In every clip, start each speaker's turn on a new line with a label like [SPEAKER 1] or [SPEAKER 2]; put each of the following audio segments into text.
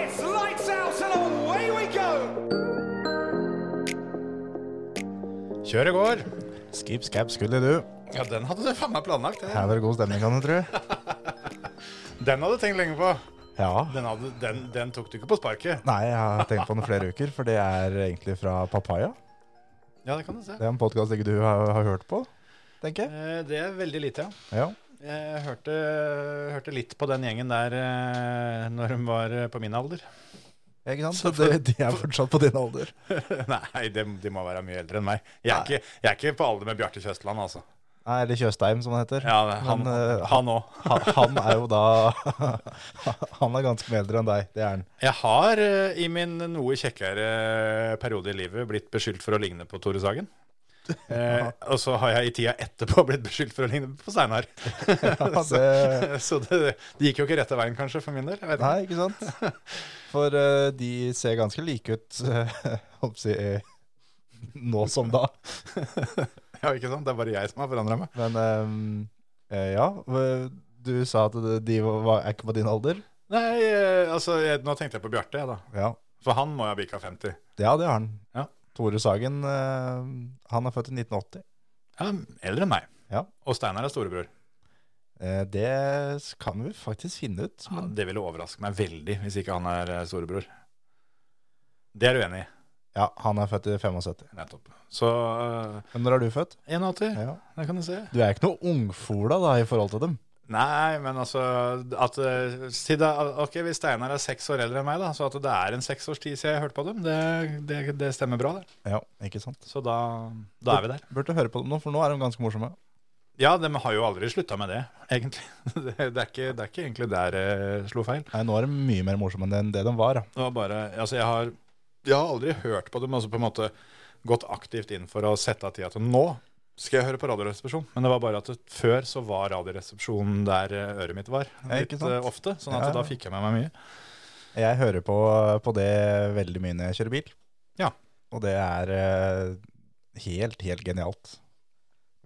[SPEAKER 1] It's lights out and away we go!
[SPEAKER 2] Kjøret går.
[SPEAKER 3] Skip, skap, skulle du.
[SPEAKER 2] Ja, den hadde du faen meg planlagt.
[SPEAKER 3] Her var det god stemning, kan du tro.
[SPEAKER 2] Den hadde du tenkt lenge på.
[SPEAKER 3] Ja.
[SPEAKER 2] Den, hadde, den, den tok du ikke på sparket.
[SPEAKER 3] Nei, jeg har tenkt på den flere uker, for det er egentlig fra Papaya.
[SPEAKER 2] Ja, det kan du se.
[SPEAKER 3] Det er en podkast ikke du har, har hørt på, tenker jeg.
[SPEAKER 2] Eh, Det er veldig lite, ja.
[SPEAKER 3] Ja.
[SPEAKER 2] Jeg hørte, hørte litt på den gjengen der eh, når de var eh, på min alder.
[SPEAKER 3] Ikke sant? Så det, de er fortsatt på din alder.
[SPEAKER 2] Nei, de, de må være mye eldre enn meg. Jeg er, ikke, jeg er ikke på alder med Bjarte Tjøstland, altså.
[SPEAKER 3] Nei, eller Tjøstheim, som han heter.
[SPEAKER 2] Ja, han,
[SPEAKER 3] Men, eh, han,
[SPEAKER 2] han òg.
[SPEAKER 3] han, han er jo da Han er ganske mye eldre enn deg, det er han.
[SPEAKER 2] Jeg har eh, i min noe kjekkere eh, periode i livet blitt beskyldt for å ligne på Tore Sagen. Eh, og så har jeg i tida etterpå blitt beskyldt for å ligne på Steinar. så
[SPEAKER 3] det-
[SPEAKER 2] så det, det gikk jo ikke rette veien, kanskje, for min del. Jeg vet ikke.
[SPEAKER 3] Nei, ikke sant? For eh, de ser ganske like ut, holdt på å si, eh, nå som da.
[SPEAKER 2] Ja, ikke sant? Det er bare jeg som har forandra meg.
[SPEAKER 3] Men ehm, eh, ja, v- du sa at det- de var, var- er ikke på din alder.
[SPEAKER 2] Nei, eh, altså, jeg, nå tenkte jeg på Bjarte, jeg, da.
[SPEAKER 3] Ja,
[SPEAKER 2] For han må jo ha bikka 50.
[SPEAKER 3] ja det har han.
[SPEAKER 2] Ja.
[SPEAKER 3] Tore Sagen, eh, han er født i 1980.
[SPEAKER 2] Ja, eldre enn meg.
[SPEAKER 3] Ja.
[SPEAKER 2] Og Steinar er storebror.
[SPEAKER 3] Eh, det s- kan vi faktisk finne ut.
[SPEAKER 2] Ja,
[SPEAKER 3] Men,
[SPEAKER 2] det ville overraske meg veldig hvis ikke han er eh, storebror. Det er du enig i?
[SPEAKER 3] ja, han er født i 75.
[SPEAKER 2] Nettopp. Så eh,
[SPEAKER 3] Men når er du født?
[SPEAKER 2] 81.
[SPEAKER 3] Ja.
[SPEAKER 2] Det kan du se.
[SPEAKER 3] Du er ikke noe ungfola da, i forhold til dem.
[SPEAKER 2] Nei, men altså at, eh, si da, Ok, hvis Steinar er seks år eldre enn meg, da, så at det er en seks års tid siden jeg hørte på dem, det, det, det stemmer bra, det.
[SPEAKER 3] Ja, ikke sant?
[SPEAKER 2] Så da, da er vi der.
[SPEAKER 3] Burde høre på dem nå, for nå er de ganske morsomme.
[SPEAKER 2] Ja, de har jo aldri slutta med det, egentlig. Det, det, er ikke, det er ikke egentlig der jeg slo feil.
[SPEAKER 3] Nei, nå er de mye mer morsomme enn det de var. Da.
[SPEAKER 2] Det var bare Altså, jeg har, jeg har aldri hørt på dem, altså på en måte gått aktivt inn for å sette av tida til nå. Skal jeg høre på Radioresepsjonen? Men det var bare at det, før så var Radioresepsjonen der eh, øret mitt var.
[SPEAKER 3] Ja, ikke
[SPEAKER 2] Litt
[SPEAKER 3] sant?
[SPEAKER 2] eh, ofte. Sånn at
[SPEAKER 3] Ja, ja.
[SPEAKER 2] da fikk jeg med meg mye.
[SPEAKER 3] Jeg hører på, på det veldig mye når jeg kjører bil.
[SPEAKER 2] Ja.
[SPEAKER 3] Og det er eh, helt, helt genialt.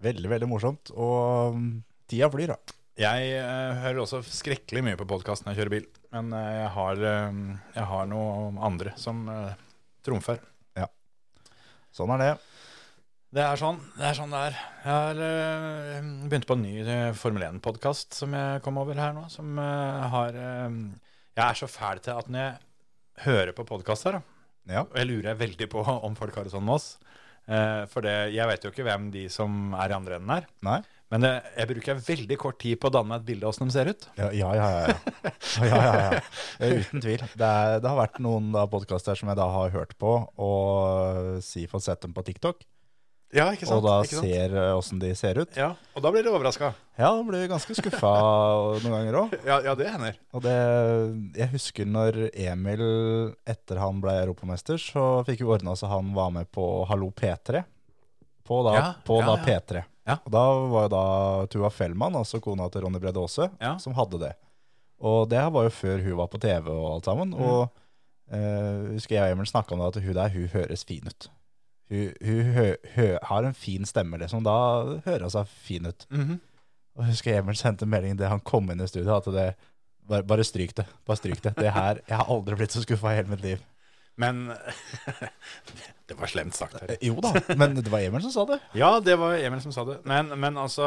[SPEAKER 3] Veldig, veldig morsomt. Og mm, tida flyr, da.
[SPEAKER 2] Jeg eh, hører også skrekkelig mye på podkast når jeg kjører bil. Men eh, jeg, har, eh, jeg har noe andre som eh, trumfer.
[SPEAKER 3] Sånn er det.
[SPEAKER 2] Det er sånn det er. Sånn det er. Jeg har eh, begynt på en ny eh, Formel 1-podkast som jeg kom over her nå. Som eh, har eh, Jeg er så fæl til at når jeg hører på podkast her, da,
[SPEAKER 3] Ja.
[SPEAKER 2] og jeg lurer veldig på om folk har det sånn med oss. eh, for det, jeg vet jo ikke hvem de som er i andre enden er.
[SPEAKER 3] Nei?
[SPEAKER 2] Men eh, jeg bruker veldig kort tid på å danne meg et bilde av åssen de ser ut.
[SPEAKER 3] Ja, ja, ja. ja, ja. ja, ja, ja, ja. Eh, Uten tvil. Det, er, det har vært noen da podkaster som jeg da har hørt på, og eh, si fått sett dem på TikTok,
[SPEAKER 2] Ja, ikke
[SPEAKER 3] og da ser eh, åssen de ser ut.
[SPEAKER 2] Ja, og da blir du overraska.
[SPEAKER 3] Ja, da blir vi ganske skuffa noen ganger òg.
[SPEAKER 2] Ja, ja, det hender.
[SPEAKER 3] Og det, jeg husker når Emil, etter han ble europamester, så fikk vi ordna så han var med på Hallo P3. På da,
[SPEAKER 2] Ja,
[SPEAKER 3] på
[SPEAKER 2] ja,
[SPEAKER 3] da
[SPEAKER 2] ja.
[SPEAKER 3] P3.
[SPEAKER 2] Ja.
[SPEAKER 3] Og da var jo da Tuva Fellmann, altså kona til Ronny Brede Aase,
[SPEAKER 2] Ja.
[SPEAKER 3] som hadde det. Og det her var jo før hun var på TV og alt sammen.
[SPEAKER 2] Mm.
[SPEAKER 3] Og eh, husker jeg og Emil snakka om det, at hun der, hun høres fin ut. Hun, hun hø, hø, har en fin stemme, liksom. Da hører hun seg fin ut.
[SPEAKER 2] Mhm.
[SPEAKER 3] Og jeg husker Emil sendte en melding det han kom inn i studio, at det bare, bare stryk det. Bare stryk det. Det her, Jeg har aldri blitt så skuffa i hele mitt liv.
[SPEAKER 2] Men Det var slemt sagt. Her.
[SPEAKER 3] Eh, Jo da, men det var Emil som sa det.
[SPEAKER 2] Ja, det var Emil som sa det. Men, men altså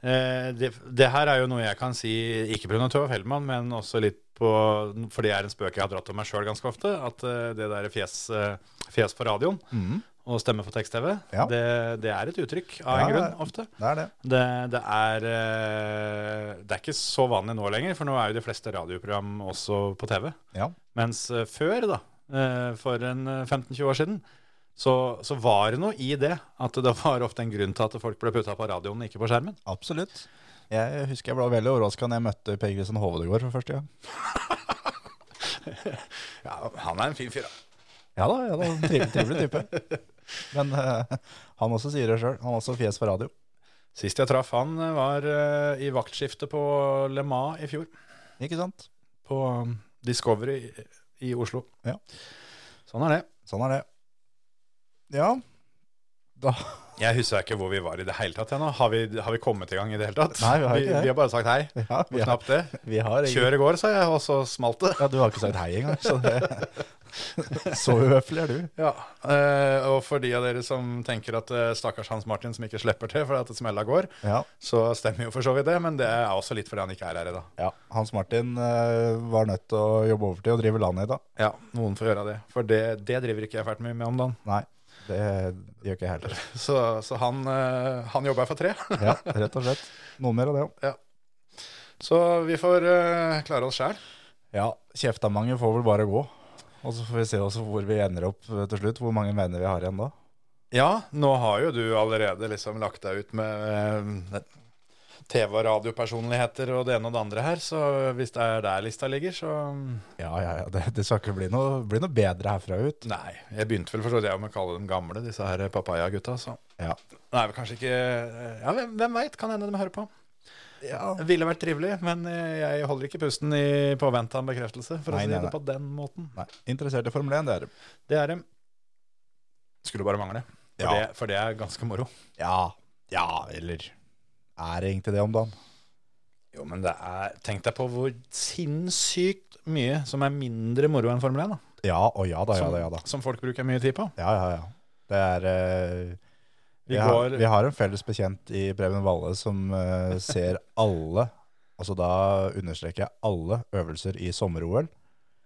[SPEAKER 2] eh, det, det her er jo noe jeg kan si, ikke pga. Tove Feldman, men også litt på For det er en spøk jeg har dratt om meg sjøl ganske ofte. At eh, det der fjes, eh, fjes på radioen og stemme på tekst-TV,
[SPEAKER 3] Ja.
[SPEAKER 2] det, det er et uttrykk av en
[SPEAKER 3] Ja,
[SPEAKER 2] grunn
[SPEAKER 3] det-
[SPEAKER 2] ofte.
[SPEAKER 3] Det er det.
[SPEAKER 2] Det, det, er, eh, det er ikke så vanlig nå lenger, for nå er jo de fleste radioprogram også på TV.
[SPEAKER 3] Ja.
[SPEAKER 2] Mens eh, før, da, eh, for en eh, 15-20 år siden, så, så var det noe i det at det var ofte en grunn til at folk ble putta på radioen, ikke på skjermen.
[SPEAKER 3] Absolutt. Jeg husker jeg ble veldig overraska da jeg møtte Per Kristian Hovdegård for første gang.
[SPEAKER 2] Ja, Han er en fin fyr, da.
[SPEAKER 3] Ja da, ja da, trivelig, trivelig type. Men eh, han også sier det sjøl. Han har også fjes for radio.
[SPEAKER 2] Sist jeg traff han, eh, var eh, i vaktskiftet på Le Mans i fjor.
[SPEAKER 3] Ikke sant?
[SPEAKER 2] På eh, Discovery i, i Oslo.
[SPEAKER 3] Ja.
[SPEAKER 2] Sånn er det.
[SPEAKER 3] Sånn er det. Ja, da
[SPEAKER 2] Jeg husker ikke hvor vi var i det hele tatt ennå. Har, vi- har vi kommet i gang i det hele tatt?
[SPEAKER 3] Nei, vi har ikke
[SPEAKER 2] vi,
[SPEAKER 3] det.
[SPEAKER 2] vi har bare sagt hei.
[SPEAKER 3] ja,
[SPEAKER 2] Og
[SPEAKER 3] vi, har,
[SPEAKER 2] knapt det.
[SPEAKER 3] vi har egentlig-
[SPEAKER 2] Kjør i går, sa jeg, og så smalt det.
[SPEAKER 3] Ja, du har ikke sagt hei engang, så det Så uhøflig er du.
[SPEAKER 2] Ja, eh, Og for de av dere som tenker at eh, stakkars Hans Martin som ikke slipper til fordi at smella går,
[SPEAKER 3] Ja.
[SPEAKER 2] så stemmer jo for så vidt det, men det er også litt fordi han ikke er her i dag.
[SPEAKER 3] ja. Hans Martin eh, var nødt til å jobbe overtid og drive landet i dag.
[SPEAKER 2] Ja, noen får gjøre det. For det, det driver ikke jeg fælt mye med om dagen.
[SPEAKER 3] Nei, det gjør ikke jeg heller.
[SPEAKER 2] Så, så han, eh, han jobber for tre.
[SPEAKER 3] Ja, rett og slett. Noe mer av det òg.
[SPEAKER 2] Så vi får eh, klare oss sjæl.
[SPEAKER 3] Ja, kjefta mange får vel bare gå. Og så får vi se også hvor vi ender opp eh, til slutt, hvor mange venner vi har igjen da.
[SPEAKER 2] Ja, nå har jo du allerede liksom lagt deg ut med eh, TV- og radiopersonligheter og det ene og det andre her, så hvis det er der lista ligger, så mm.
[SPEAKER 3] Ja, ja, ja, det, det skal ikke bli noe, bli noe bedre herfra ut.
[SPEAKER 2] Nei. Jeg begynte vel for så vidt jeg med å kalle dem gamle, disse her papaya-gutta, så
[SPEAKER 3] Ja.
[SPEAKER 2] Nei, vel kanskje ikke eh, Ja, hvem, hvem veit? Kan hende de hører på.
[SPEAKER 3] ja.
[SPEAKER 2] Det ville vært trivelig, men eh, jeg holder ikke pusten i påvente av en bekreftelse, for å
[SPEAKER 3] Nei,
[SPEAKER 2] si
[SPEAKER 3] nei,
[SPEAKER 2] det
[SPEAKER 3] nei.
[SPEAKER 2] på den måten.
[SPEAKER 3] Nei, interessert i Formel 1, det er det.
[SPEAKER 2] Det er eh, dem. Skulle bare mangle. For,
[SPEAKER 3] Ja.
[SPEAKER 2] det, for det er ganske moro.
[SPEAKER 3] Ja, ja, eller er det egentlig det om dagen?
[SPEAKER 2] Jo, men det er Tenk deg på hvor sinnssykt mye som er mindre moro enn Formel 1. Da,
[SPEAKER 3] Ja, og ja da, ja da, ja da.
[SPEAKER 2] Som, som folk bruker mye tid på.
[SPEAKER 3] Ja, ja, ja. Det er eh, vi,
[SPEAKER 2] Vi
[SPEAKER 3] har,
[SPEAKER 2] går-
[SPEAKER 3] vi har en felles bekjent i Preben Valle som eh, ser alle, altså da understreker jeg alle øvelser i sommer-OL.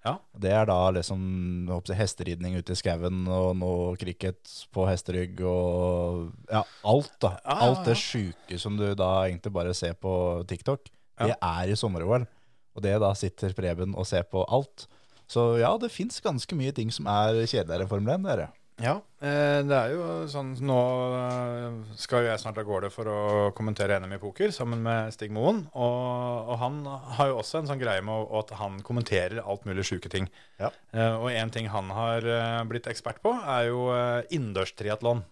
[SPEAKER 2] Ja.
[SPEAKER 3] Det er da liksom jeg håper å si, hesteridning ute i skauen og noe cricket på hesterygg og ja, alt, da.
[SPEAKER 2] Ja, ja,
[SPEAKER 3] Alt
[SPEAKER 2] ja.
[SPEAKER 3] det sjuke som du da egentlig bare ser på TikTok, det er i sommer-OL. Og det da sitter Preben og ser på alt. Så ja, det fins ganske mye ting som er kjedeligere enn Formel 1, dere.
[SPEAKER 2] Ja, eh, det er jo sånn Nå eh, skal jo jeg snart av gårde for å kommentere NM i poker sammen med Stig Moen. Og, og han har jo også en sånn greie med å- at han kommenterer alt mulig sjuke ting.
[SPEAKER 3] Ja.
[SPEAKER 2] Eh, og en ting han har eh, blitt ekspert på, er jo eh, innendørs triatlon.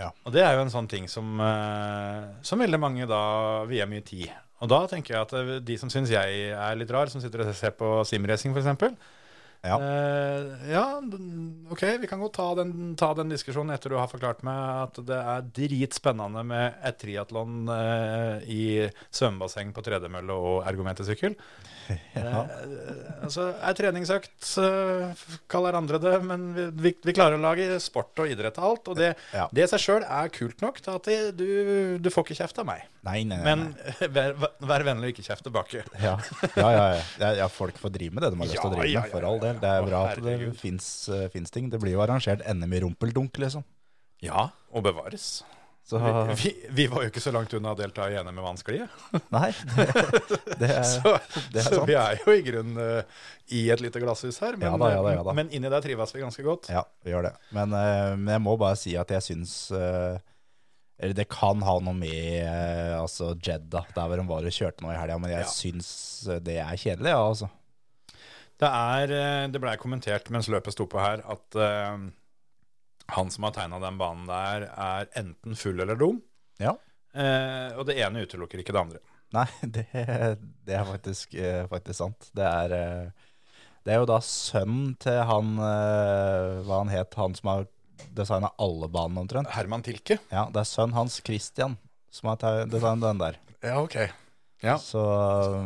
[SPEAKER 3] Ja.
[SPEAKER 2] Og det er jo en sånn ting som, eh, som veldig mange da vier mye tid. Og da tenker jeg at eh, de som syns jeg er litt rar, som sitter og ser på simracing f.eks.
[SPEAKER 3] Ja.
[SPEAKER 2] Eh, ja, d- ok, vi kan godt ta den, ta den diskusjonen etter du har forklart meg at det er dritspennende med et triatlon eh, i svømmebasseng på tredemølle og ergometersykkel.
[SPEAKER 3] Ja.
[SPEAKER 2] Eh, altså, er treningsøkt, eh, f- kaller andre det, men vi, vi, vi klarer å lage sport og idrett av alt, og det,
[SPEAKER 3] Ja.
[SPEAKER 2] det i seg sjøl er kult nok til at det, du, du får ikke kjeft av meg.
[SPEAKER 3] Nei, nei, nei.
[SPEAKER 2] Men
[SPEAKER 3] nei.
[SPEAKER 2] vær, vær vennlig og ikke kjeft tilbake.
[SPEAKER 3] ja. Ja, ja, ja. ja, ja, folk får drive med det de har lyst til å
[SPEAKER 2] Ja,
[SPEAKER 3] drive med,
[SPEAKER 2] ja, ja,
[SPEAKER 3] for all
[SPEAKER 2] ja, ja.
[SPEAKER 3] del. Det er
[SPEAKER 2] Å,
[SPEAKER 3] bra at det
[SPEAKER 2] herregud.
[SPEAKER 3] fins ting. Det blir jo arrangert NM i rumpeldunk, liksom.
[SPEAKER 2] Ja, og bevares.
[SPEAKER 3] Så
[SPEAKER 2] Vi, vi, vi var jo ikke så langt unna å delta i NM i vannsklie.
[SPEAKER 3] nei, det, det er
[SPEAKER 2] Så,
[SPEAKER 3] det er
[SPEAKER 2] så
[SPEAKER 3] sant.
[SPEAKER 2] vi er jo i grunnen eh, i et lite glasshus her, men,
[SPEAKER 3] Ja da, ja da, ja da.
[SPEAKER 2] men inni der trives vi ganske godt.
[SPEAKER 3] Ja, vi gjør det. Men, eh, men jeg må bare si at jeg syns eh, Eller det kan ha noe med eh, altså Jedda, der hvor de var og kjørte nå i helga, men jeg
[SPEAKER 2] Ja.
[SPEAKER 3] syns eh, det er kjedelig, ja, altså.
[SPEAKER 2] Det, er, eh, det blei kommentert mens løpet sto på her, at eh, han som har tegna den banen der, er enten full eller dum.
[SPEAKER 3] Ja.
[SPEAKER 2] Eh, og det ene utelukker ikke det andre.
[SPEAKER 3] Nei, det, det er faktisk, eh, faktisk sant. Det er, eh, det er jo da sønnen til han eh, Hva han het, han som har designa alle banene omtrent.
[SPEAKER 2] Herman Tilke?
[SPEAKER 3] Ja, det er sønnen hans, Christian, som har te- designet den der.
[SPEAKER 2] Ja, ok. Ja.
[SPEAKER 3] Så,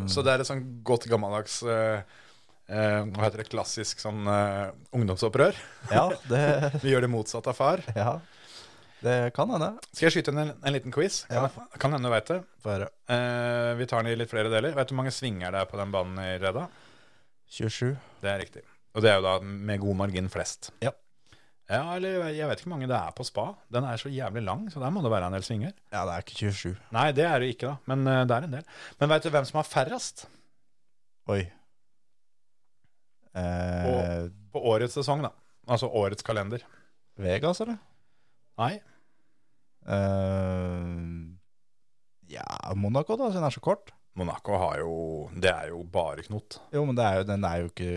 [SPEAKER 2] Så det er et sånn godt gammeldags eh, eh, Hva heter det? Klassisk sånn eh, ungdomsopprør.
[SPEAKER 3] ja, det,
[SPEAKER 2] Vi gjør det motsatte av far.
[SPEAKER 3] ja, det kan hende.
[SPEAKER 2] Skal jeg skyte inn en, en liten quiz? Kan, jeg- kan hende du veit det.
[SPEAKER 3] Få høre.
[SPEAKER 2] Eh, vi tar den i litt flere deler. Vet du hvor mange svinger det er på den banen i Redda?
[SPEAKER 3] 27.
[SPEAKER 2] Det er riktig. Og det er jo da med god margin flest.
[SPEAKER 3] Ja.
[SPEAKER 2] Ja, eller jeg vet ikke hvor mange det er på spa. Den er så jævlig lang, så der må det være en del svinger.
[SPEAKER 3] Ja, det er ikke 27.
[SPEAKER 2] Nei, det er det ikke, da. Men eh, det er en del. Men veit du hvem som har færrest
[SPEAKER 3] Oi. Eh,
[SPEAKER 2] på årets sesong, da? Altså årets kalender.
[SPEAKER 3] Vegas, eller?
[SPEAKER 2] Nei,
[SPEAKER 3] Eh, ja, Monaco, da, siden den er så kort.
[SPEAKER 2] Monaco har jo Det er jo bare knot.
[SPEAKER 3] Jo, men det er jo, den er jo ikke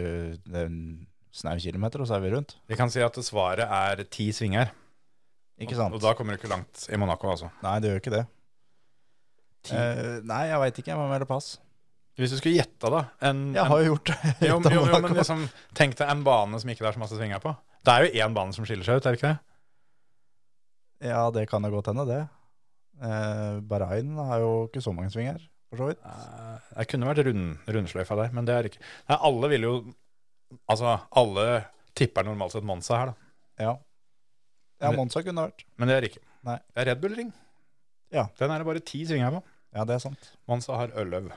[SPEAKER 3] den, snau kilometer, og så er vi rundt.
[SPEAKER 2] Vi kan si at svaret er ti svinger.
[SPEAKER 3] Ikke sant?
[SPEAKER 2] Og da kommer du ikke langt i Monaco, altså.
[SPEAKER 3] Nei, det gjør ikke det. Eh, nei, jeg veit ikke. Jeg må melde pass.
[SPEAKER 2] Hvis du skulle gjette, da en,
[SPEAKER 3] Jeg
[SPEAKER 2] en,
[SPEAKER 3] har jo gjort det.
[SPEAKER 2] jo,
[SPEAKER 3] Utenom
[SPEAKER 2] jo, jo,
[SPEAKER 3] Monaco.
[SPEAKER 2] men liksom, Tenk deg en bane som ikke det er så masse svinger på. Det er jo én bane som skiller seg ut, er det ikke det?
[SPEAKER 3] Ja, det kan da godt hende, det. Eh, Bahrain har jo ikke så mange svinger, for så vidt.
[SPEAKER 2] Eh, Det kunne vært rund, rundsløyfa der, men det er ikke Nei, alle vil jo Altså, alle tipper normalt sett Monza her, da.
[SPEAKER 3] Ja. Ja, Monza kunne det vært.
[SPEAKER 2] Men det er ikke.
[SPEAKER 3] Nei.
[SPEAKER 2] Det er Red Bull Ring.
[SPEAKER 3] Ja.
[SPEAKER 2] Den er det bare ti svinger på.
[SPEAKER 3] Ja, det er sant.
[SPEAKER 2] Monza har Ølløv.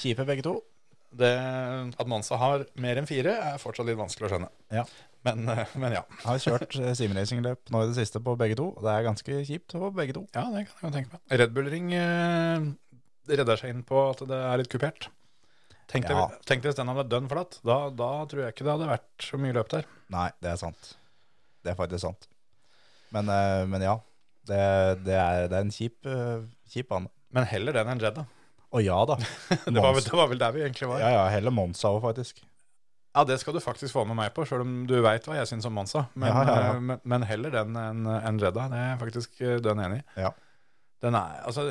[SPEAKER 3] Kjipe begge to.
[SPEAKER 2] Det, at Monza har mer enn fire, er fortsatt litt vanskelig å skjønne.
[SPEAKER 3] Ja.
[SPEAKER 2] Men, eh, men ja.
[SPEAKER 3] Har kjørt eh, simracingløp nå i det siste på begge to. og Det er ganske kjipt på begge to.
[SPEAKER 2] Ja, det kan jeg tenke meg. Red Bull Ring eh, redder seg inn på at det er litt kupert. Tenk deg,
[SPEAKER 3] Ja.
[SPEAKER 2] tenk deg hvis den hadde vært dønn flatt. Da, da tror jeg ikke det hadde vært så mye løp der.
[SPEAKER 3] Nei, det er sant. Det er faktisk sant. Men, eh, men ja, det, det, er, det er en kjip, eh, kjip bane.
[SPEAKER 2] Men heller den enn Jedda.
[SPEAKER 3] Å ja da.
[SPEAKER 2] Det var, vel- det var vel der vi egentlig var.
[SPEAKER 3] Ja, ja, heller Monza òg, faktisk.
[SPEAKER 2] Ja, det skal du faktisk få med meg på, sjøl om du veit hva jeg syns om Monza. Men,
[SPEAKER 3] Ja, ja, ja.
[SPEAKER 2] eh, men, men heller den enn enn Jedda. Det er jeg faktisk eh, dønn enig i.
[SPEAKER 3] Ja.
[SPEAKER 2] Den er, altså,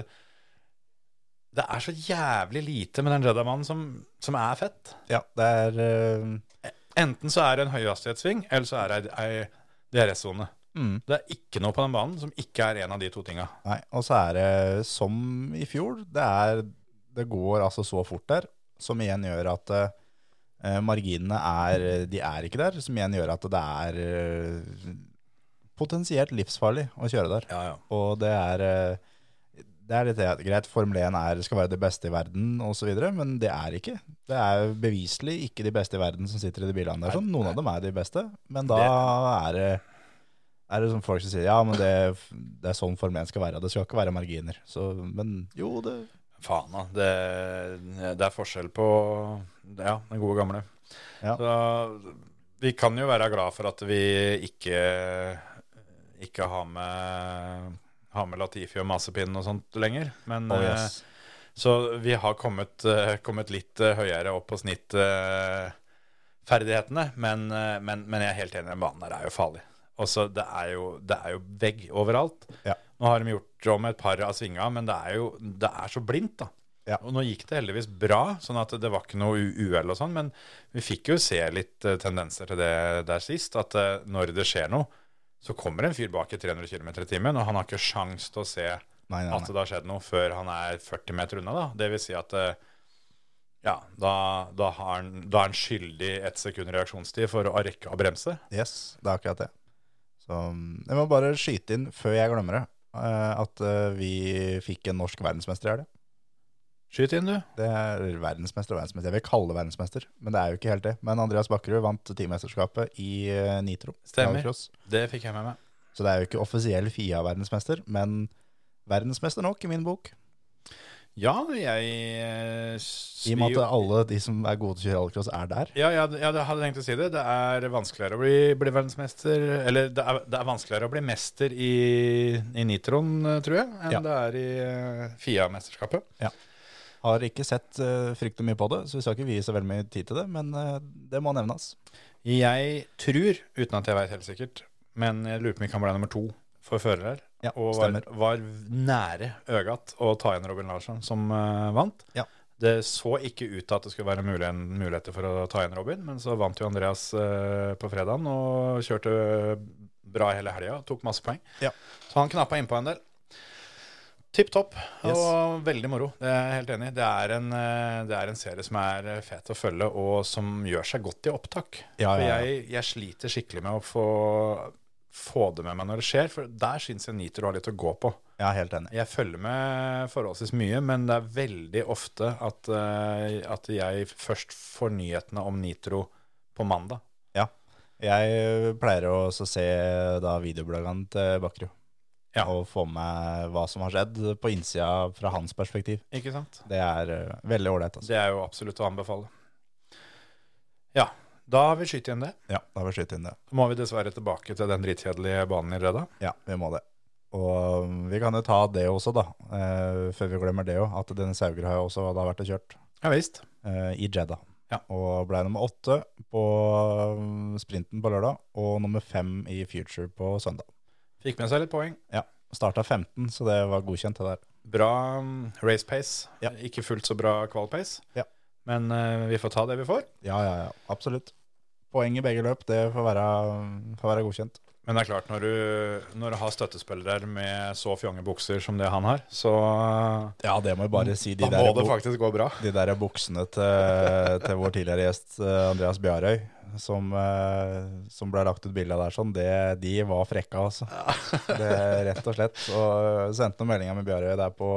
[SPEAKER 2] det er så jævlig lite med den Jedda-mannen som, som er fett.
[SPEAKER 3] Ja, det er eh,
[SPEAKER 2] Enten så er det en høyhastighetssving, eller så er det ei, ei DRS-sone.
[SPEAKER 3] mm.
[SPEAKER 2] Det er ikke noe på den banen som ikke er en av de to tinga.
[SPEAKER 3] Nei, og så er det som i fjor, det, er, det går altså så fort der, som igjen gjør at eh, marginene er, de er ikke der, som igjen gjør at det er eh, potensielt livsfarlig å kjøre der.
[SPEAKER 2] Ja, ja.
[SPEAKER 3] Og det er, eh, det er litt det- greit, Formel 1 er, skal være det beste i verden og så videre, men det er ikke. Det er beviselig ikke de beste i verden som sitter i de bilene der, sånn. noen av dem er de beste, men da er det er det sånn folk som sier ja, men det, det er sånn Formel 1 skal være. Det skal ikke være marginer. Så, men jo, det
[SPEAKER 2] Faen, da. Det, det er forskjell på ja, den gode gamle.
[SPEAKER 3] Ja.
[SPEAKER 2] Så, vi kan jo være glad for at vi ikke, ikke har med har med Latifi og Masepin og sånt lenger. Men,
[SPEAKER 3] oh, yes.
[SPEAKER 2] eh, Så vi har kommet, eh, kommet litt eh, høyere opp på snittferdighetene. Men, eh, men, men jeg er helt enig, den banen der er jo farlig. Og så det, er jo- det er jo vegg overalt.
[SPEAKER 3] Ja.
[SPEAKER 2] Nå har de gjort det om et par av svinga, men det er jo det er så blindt, da.
[SPEAKER 3] Ja.
[SPEAKER 2] Og nå gikk det heldigvis bra, sånn at det var ikke noe u- uhell og sånn, men vi fikk jo se litt eh, tendenser til det der sist, at eh, når det skjer noe, så kommer en fyr bak i 300 km i timen, og han har ikke sjans til å se
[SPEAKER 3] Nei, nei,
[SPEAKER 2] at
[SPEAKER 3] nei.
[SPEAKER 2] det har skjedd noe før han er 40 meter unna, da. Det vil si at eh, ja, da, da, har han, da er han skyldig ett sekund reaksjonstid for å rekke å bremse.
[SPEAKER 3] Yes, det er akkurat det. Så mm, jeg må bare skyte inn, før jeg glemmer det, eh, at eh, vi fikk en norsk verdensmester i helga.
[SPEAKER 2] Skyt inn, du.
[SPEAKER 3] Det er verdensmester og verdensmester. Jeg vil kalle det verdensmester, men det er jo ikke helt det. Men Andreas Bakkerud vant teammesterskapet i eh, Nitro.
[SPEAKER 2] Stemmer.
[SPEAKER 3] Autocross.
[SPEAKER 2] Det fikk jeg med meg.
[SPEAKER 3] Så det er jo ikke offisiell FIA-verdensmester, men verdensmester nok i min bok.
[SPEAKER 2] Ja, jeg eh,
[SPEAKER 3] I og med at alle de som er gode til å kjøre allcross, er der.
[SPEAKER 2] Ja, ja, ja, jeg hadde tenkt å si det. Det er vanskeligere å bli, bli verdensmester Eller det er, det er vanskeligere å bli mester i, i Nitron, eh, tror jeg, enn
[SPEAKER 3] Ja.
[SPEAKER 2] det er i eh, FIA-mesterskapet.
[SPEAKER 3] Har ikke sett eh, fryktelig mye på det, så vi skal ikke vie så veldig mye tid til det, men eh, det må nevnes.
[SPEAKER 2] Jeg tror, uten at jeg vet helt sikkert, men jeg lurer på om vi kan bli nummer to for førere.
[SPEAKER 3] Ja,
[SPEAKER 2] og var,
[SPEAKER 3] stemmer.
[SPEAKER 2] var nære Øgat å ta igjen Robin Larsson, som eh, vant.
[SPEAKER 3] Ja.
[SPEAKER 2] Det så ikke ut til at det skulle være mulig, muligheter for å ta igjen Robin, men så vant jo Andreas eh, på fredagen og kjørte bra hele helga. Tok masse poeng.
[SPEAKER 3] Ja.
[SPEAKER 2] Så han knappa innpå en del. Tipp topp
[SPEAKER 3] Yes.
[SPEAKER 2] og veldig moro. Det er jeg helt enig i. Det, er en, eh, det er en serie som er eh, fet å følge, og som gjør seg godt i opptak.
[SPEAKER 3] Ah, Ja,
[SPEAKER 2] For
[SPEAKER 3] ja, ja.
[SPEAKER 2] jeg, jeg sliter skikkelig med å få, få det med meg når det skjer, for der syns jeg Nitro har litt å gå på.
[SPEAKER 3] Jeg er helt enig.
[SPEAKER 2] Jeg følger med forholdsvis mye, men det er veldig ofte at, eh, at jeg først får nyhetene om Nitro på mandag.
[SPEAKER 3] Ja. Jeg eh, pleier å også se da videobloggene til Bakkerud.
[SPEAKER 2] Ja.
[SPEAKER 3] Og få med hva som har skjedd på innsida fra hans perspektiv.
[SPEAKER 2] Ikke sant?
[SPEAKER 3] Det er eh, veldig ålreit. Altså.
[SPEAKER 2] Det er jo absolutt å anbefale. Ja, da har vi skutt igjen det.
[SPEAKER 3] Ja, da har vi skutt inn det.
[SPEAKER 2] Så må vi dessverre tilbake til den dritkjedelige banen i Røda.
[SPEAKER 3] Ja, vi må det. Og eh, vi kan jo ta det også, da. eh, før vi glemmer det òg, at Dennis Hauger har jo også da vært og kjørt
[SPEAKER 2] Ja visst.
[SPEAKER 3] eh, i Jedda.
[SPEAKER 2] Ja.
[SPEAKER 3] Og ble nummer åtte på mm, sprinten på lørdag, og nummer fem i Future på søndag.
[SPEAKER 2] Fikk med seg litt poeng.
[SPEAKER 3] Ja, starta 15, så det var godkjent det der.
[SPEAKER 2] Bra mm, race pace.
[SPEAKER 3] Ja.
[SPEAKER 2] Ikke fullt så bra qual pace.
[SPEAKER 3] Ja.
[SPEAKER 2] Men eh, vi får ta det vi får.
[SPEAKER 3] Ja, ja, ja, absolutt. Poeng i begge løp, det får være, mm, får være godkjent.
[SPEAKER 2] Men det er klart, når du, når du har støttespillere med så fjonge bukser som det han har, så
[SPEAKER 3] Ja, det Mm. må jeg bare si.
[SPEAKER 2] da
[SPEAKER 3] De
[SPEAKER 2] må
[SPEAKER 3] der,
[SPEAKER 2] det
[SPEAKER 3] bo-
[SPEAKER 2] faktisk gå bra.
[SPEAKER 3] de der buksene til, til vår tidligere gjest eh, Andreas Bjarøy, som, eh, som ble lagt ut bilde av der, sånn, det, de var frekka, altså. Det, rett og slett. Og jeg sendte noen meldinger med Bjarøy der på,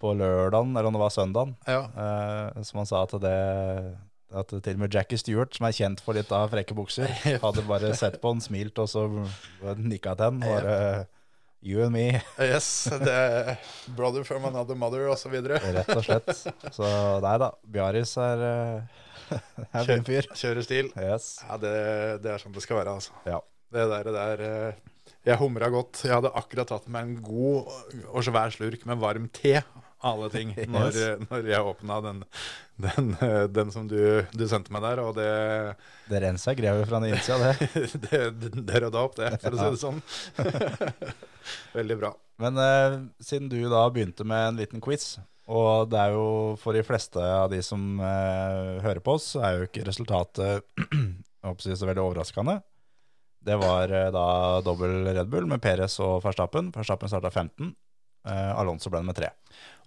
[SPEAKER 3] på lørdagen, eller om det var søndagen,
[SPEAKER 2] Ja.
[SPEAKER 3] eh, som han sa at det at til og med Jackie Stewart, som er kjent for litt av frekke bukser, hadde bare sett på han, smilt og så nikka til han. Bare You and me.
[SPEAKER 2] Yes. Det er brother from another mother, osv.
[SPEAKER 3] Rett og slett. Så nei da, Bjaris er, eh, er en fin fyr.
[SPEAKER 2] Kjørestil.
[SPEAKER 3] Yes.
[SPEAKER 2] Ja, det, det er sånn det skal være, altså.
[SPEAKER 3] Ja.
[SPEAKER 2] Det der, det der eh, Jeg humra godt. Jeg hadde akkurat tatt meg en god og svær slurk med varm te. av Alle ting. Når, eh, når jeg åpna den, den, eh, den som du, du sendte meg der. Og det,
[SPEAKER 3] Det renser grevet fra den innsida, det.
[SPEAKER 2] det, det rydda opp, det, for å si det sånn. Veldig bra.
[SPEAKER 3] Men eh, siden du da begynte med en liten quiz, og det er jo for de fleste av de som eh, hører på oss, så er jo ikke resultatet jeg håper å si, så veldig overraskende. Det var eh, da dobbel Red Bull med Perez og Verstappen. Verstappen starta 15. eh, Alonso ble nummer 3.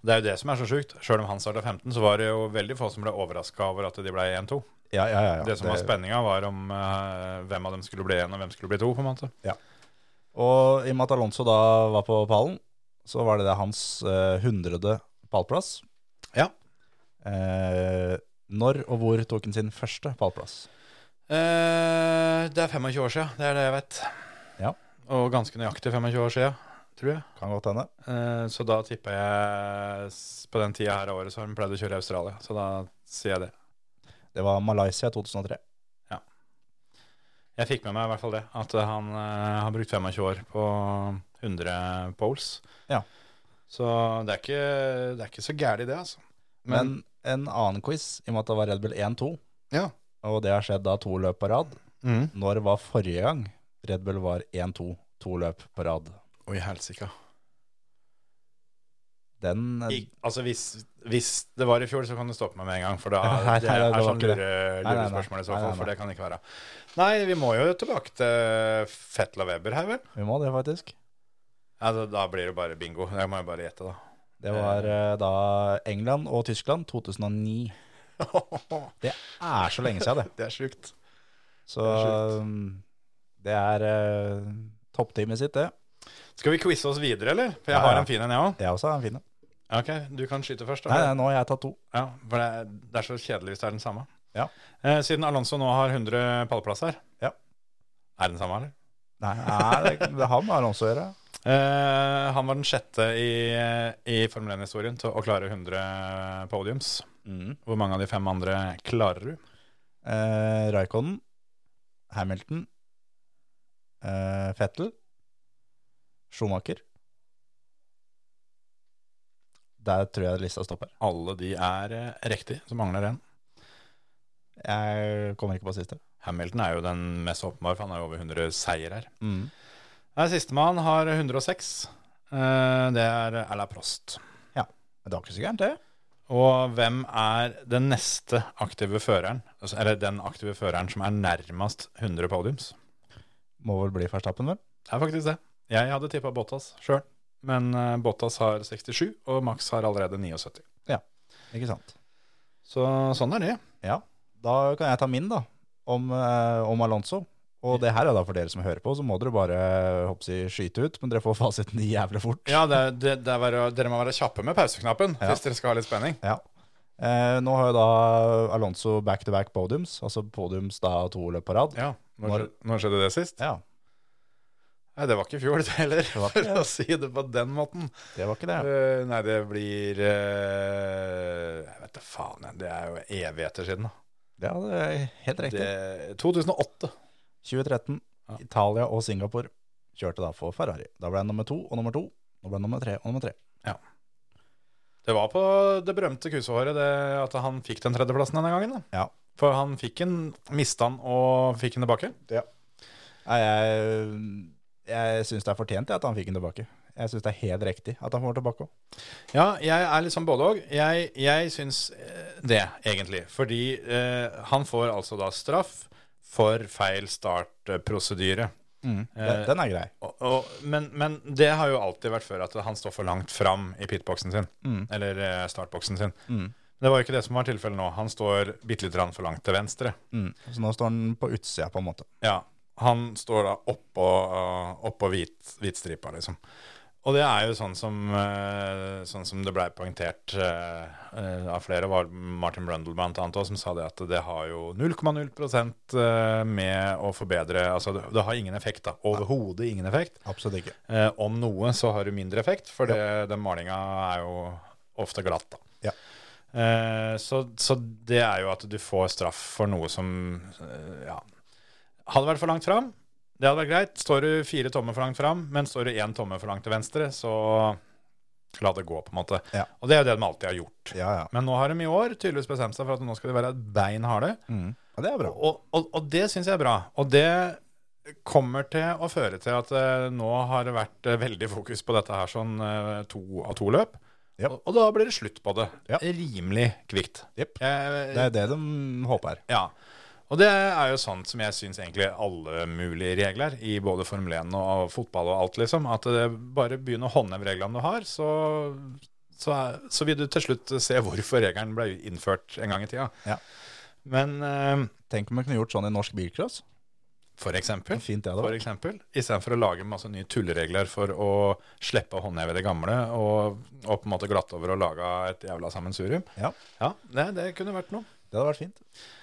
[SPEAKER 2] Det er jo det som er så sjukt. Sjøl om han starta 15, så var det jo veldig få som ble overraska over at de ble 1-2.
[SPEAKER 3] Ja, ja, ja, ja.
[SPEAKER 2] det som var spenninga, var om eh, hvem av dem skulle bli 1, og hvem skulle bli 2, på en måte.
[SPEAKER 3] Og i og med at Alonso da var på pallen, så var det det hans eh, hundrede pallplass.
[SPEAKER 2] Ja.
[SPEAKER 3] Eh, når og hvor tok han sin første pallplass?
[SPEAKER 2] Eh, det er 25 år siden, det er det jeg vet.
[SPEAKER 3] Ja.
[SPEAKER 2] Og ganske nøyaktig 25 år siden, tror jeg.
[SPEAKER 3] Kan godt hende.
[SPEAKER 2] Eh, så da tipper jeg s- På den tida her av året så har de pleid å kjøre i Australia, så da sier jeg det.
[SPEAKER 3] Det var Malaysia 2003.
[SPEAKER 2] Jeg fikk med meg i hvert fall det, at eh, han eh, har brukt 25 år på 100 poles.
[SPEAKER 3] Ja.
[SPEAKER 2] Så det er ikke, det er ikke så gærent, det, altså.
[SPEAKER 3] Men en annen quiz, i og med at det var Red Bull 1-2,
[SPEAKER 2] Ja.
[SPEAKER 3] og det har skjedd da to løp på rad
[SPEAKER 2] Mm.
[SPEAKER 3] Når var forrige gang Red Bull var 1-2, to løp på rad?
[SPEAKER 2] Oi, helsike.
[SPEAKER 3] Den eh,
[SPEAKER 2] I- Altså, hvis, hvis det var i fjor, så kan du stoppe meg med en gang. For da
[SPEAKER 3] Nei, nei,
[SPEAKER 2] det
[SPEAKER 3] nei,
[SPEAKER 2] er
[SPEAKER 3] det var
[SPEAKER 2] sånn
[SPEAKER 3] ikke det.
[SPEAKER 2] lure,
[SPEAKER 3] Nei, nei, nei.
[SPEAKER 2] lurespørsmål i så
[SPEAKER 3] Nei, nei,
[SPEAKER 2] fall,
[SPEAKER 3] nei.
[SPEAKER 2] for det kan det ikke være. Nei, vi må jo tilbake til Fettel og Weber her, vel?
[SPEAKER 3] Vi må det, faktisk.
[SPEAKER 2] Altså, da blir det bare bingo. Jeg må jo bare gjette,
[SPEAKER 3] Det var eh, da England og Tyskland 2009.
[SPEAKER 2] da.
[SPEAKER 3] Det er så lenge siden, det.
[SPEAKER 2] det er sjukt.
[SPEAKER 3] Så
[SPEAKER 2] Det er
[SPEAKER 3] um, det er uh, toppteamet sitt, det.
[SPEAKER 2] Skal vi quize oss videre, eller? For jeg
[SPEAKER 3] Ja, ja.
[SPEAKER 2] har en fin en, jeg òg.
[SPEAKER 3] Jeg også er en fin en.
[SPEAKER 2] Ok, du kan skyte først. da.
[SPEAKER 3] Nei, nei, nå har jeg tatt to.
[SPEAKER 2] Ja, for det er, det er så kjedelig hvis det er den samme.
[SPEAKER 3] Ja.
[SPEAKER 2] Eh, siden Alonso nå har 100 pallplasser,
[SPEAKER 3] Ja.
[SPEAKER 2] er den samme, eller?
[SPEAKER 3] Nei, nei det, det har med Alonso å gjøre.
[SPEAKER 2] Eh, han var den sjette i, i Formel 1-historien til å klare 100 podiums. Hvor mange av de fem andre klarer du?
[SPEAKER 3] Eh, Raikonen, Hamilton, eh, Fettel, Schumacher. Der tror jeg lista stopper.
[SPEAKER 2] Alle de er eh, riktig, så mangler en.
[SPEAKER 3] Jeg kommer ikke på siste.
[SPEAKER 2] Hamilton er jo den mest åpenbare, for han har jo over 100 seier her. Nei, Sistemann har 106. Eh, det er Erla Prost.
[SPEAKER 3] Men det var ikke så gærent, det.
[SPEAKER 2] Og hvem er den neste aktive føreren, altså, eller den aktive føreren som er nærmest 100 podiums?
[SPEAKER 3] Må vel bli Verstappen, vel?
[SPEAKER 2] Det er faktisk det. Jeg hadde tippa Bottas sjøl, men eh, Bottas har 67, og Max har allerede 79.
[SPEAKER 3] Ikke sant.
[SPEAKER 2] Så sånn er det.
[SPEAKER 3] Ja, da kan jeg ta min da, om, eh, om Alonso. Og det her er da for dere som hører på, så må dere bare håper jeg, skyte ut, men dere får fasiten jævlig fort.
[SPEAKER 2] Ja, det, det, det er bare, Dere må være kjappe med pauseknappen
[SPEAKER 3] Ja.
[SPEAKER 2] hvis dere skal ha litt spenning.
[SPEAKER 3] Ja. Eh, nå har jo da Alonso back-to-back podiums, altså podiums da to løp på rad.
[SPEAKER 2] Ja, Når,
[SPEAKER 3] Når-
[SPEAKER 2] når skjedde det sist?
[SPEAKER 3] Ja,
[SPEAKER 2] Nei, Det var ikke i fjor, det heller,
[SPEAKER 3] var ikke
[SPEAKER 2] for å si det på den måten.
[SPEAKER 3] det var ikke det.
[SPEAKER 2] Eh, nei, det blir eh, Jeg vet da faen, jeg. det er jo evigheter siden. da.
[SPEAKER 3] Ja, det er helt riktig.
[SPEAKER 2] Det, 2008.
[SPEAKER 3] 2013,
[SPEAKER 2] Ja.
[SPEAKER 3] Italia og Singapore kjørte da for Ferrari. Da ble han nummer to og nummer to, nå ble han nummer tre og nummer tre.
[SPEAKER 2] Ja. Det var på det berømte kusehåret det, at han fikk den tredjeplassen denne gangen. Da.
[SPEAKER 3] Ja.
[SPEAKER 2] For han fikk den, mista den og fikk den tilbake.
[SPEAKER 3] Nei, jeg, jeg syns det er fortjent jeg, at han fikk den tilbake. Jeg syns det er helt riktig at han får den tilbake òg.
[SPEAKER 2] Ja, jeg er liksom både òg. Jeg, jeg syns eh, det, egentlig. Fordi eh, han får altså da straff for feil startprosedyre. Mm. Eh,
[SPEAKER 3] Den- Den er grei.
[SPEAKER 2] Og, og, men, men det har jo alltid vært før at han står for langt fram i pitboksen sin. Eller eh, startboksen sin. Det var jo ikke det som var tilfellet nå. Han står bitte lite grann for langt til venstre.
[SPEAKER 3] Mm. Så nå står han på utsida, på en måte.
[SPEAKER 2] Ja, han står da oppå, eh, oppå hvit, hvitstripa, liksom. Og det er jo sånn som, eh, sånn som det blei poengtert eh, eh, av flere, var Martin Brundle blant annet også, som sa det at det har jo 0,0 prosent, eh, med å forbedre Altså det, det har ingen effekt, da. Overhodet ingen effekt.
[SPEAKER 3] Absolutt ikke.
[SPEAKER 2] Eh, om noe så har du mindre effekt, for det, den malinga er jo ofte glatt, da.
[SPEAKER 3] Ja.
[SPEAKER 2] Eh, så, så det er jo at du får straff for noe som eh, ja. Hadde vært for langt fram, det hadde vært greit. Står du fire tommer for langt fram, men står du én tomme for langt til venstre, så la det gå, på en måte.
[SPEAKER 3] Ja.
[SPEAKER 2] Og det er jo det de alltid har gjort.
[SPEAKER 3] Ja, ja.
[SPEAKER 2] Men nå har de i år tydeligvis bestemt seg for at nå skal de være bein harde.
[SPEAKER 3] ja det er bra.
[SPEAKER 2] Og, og, og det syns jeg er bra. Og det kommer til å føre til at eh, nå har det vært eh, veldig fokus på dette her sånn eh, to av to løp.
[SPEAKER 3] Ja.
[SPEAKER 2] Og, og da blir det slutt på det.
[SPEAKER 3] Ja.
[SPEAKER 2] Rimelig kvikt.
[SPEAKER 3] Jepp.
[SPEAKER 2] Jeg-
[SPEAKER 3] Det er det de håper.
[SPEAKER 2] ja. Og det er jo sånt som jeg syns egentlig alle mulige regler i både Formel 1 og fotball og alt, liksom. At det bare begynn å håndheve reglene du har, så, så, er, så vil du til slutt se hvorfor regelen ble innført en gang i tida.
[SPEAKER 3] Ja.
[SPEAKER 2] Men eh,
[SPEAKER 3] Tenk om vi kunne gjort sånn i norsk bilcross.
[SPEAKER 2] for eksempel
[SPEAKER 3] Så fint det hadde
[SPEAKER 2] for
[SPEAKER 3] vært.
[SPEAKER 2] eksempel, istedenfor å lage masse nye tulleregler for å slippe å håndheve det gamle og, og på en måte glatte over og lage et jævla sammensurium.
[SPEAKER 3] Ja,
[SPEAKER 2] Ja, det, det kunne vært noe.
[SPEAKER 3] det hadde vært fint.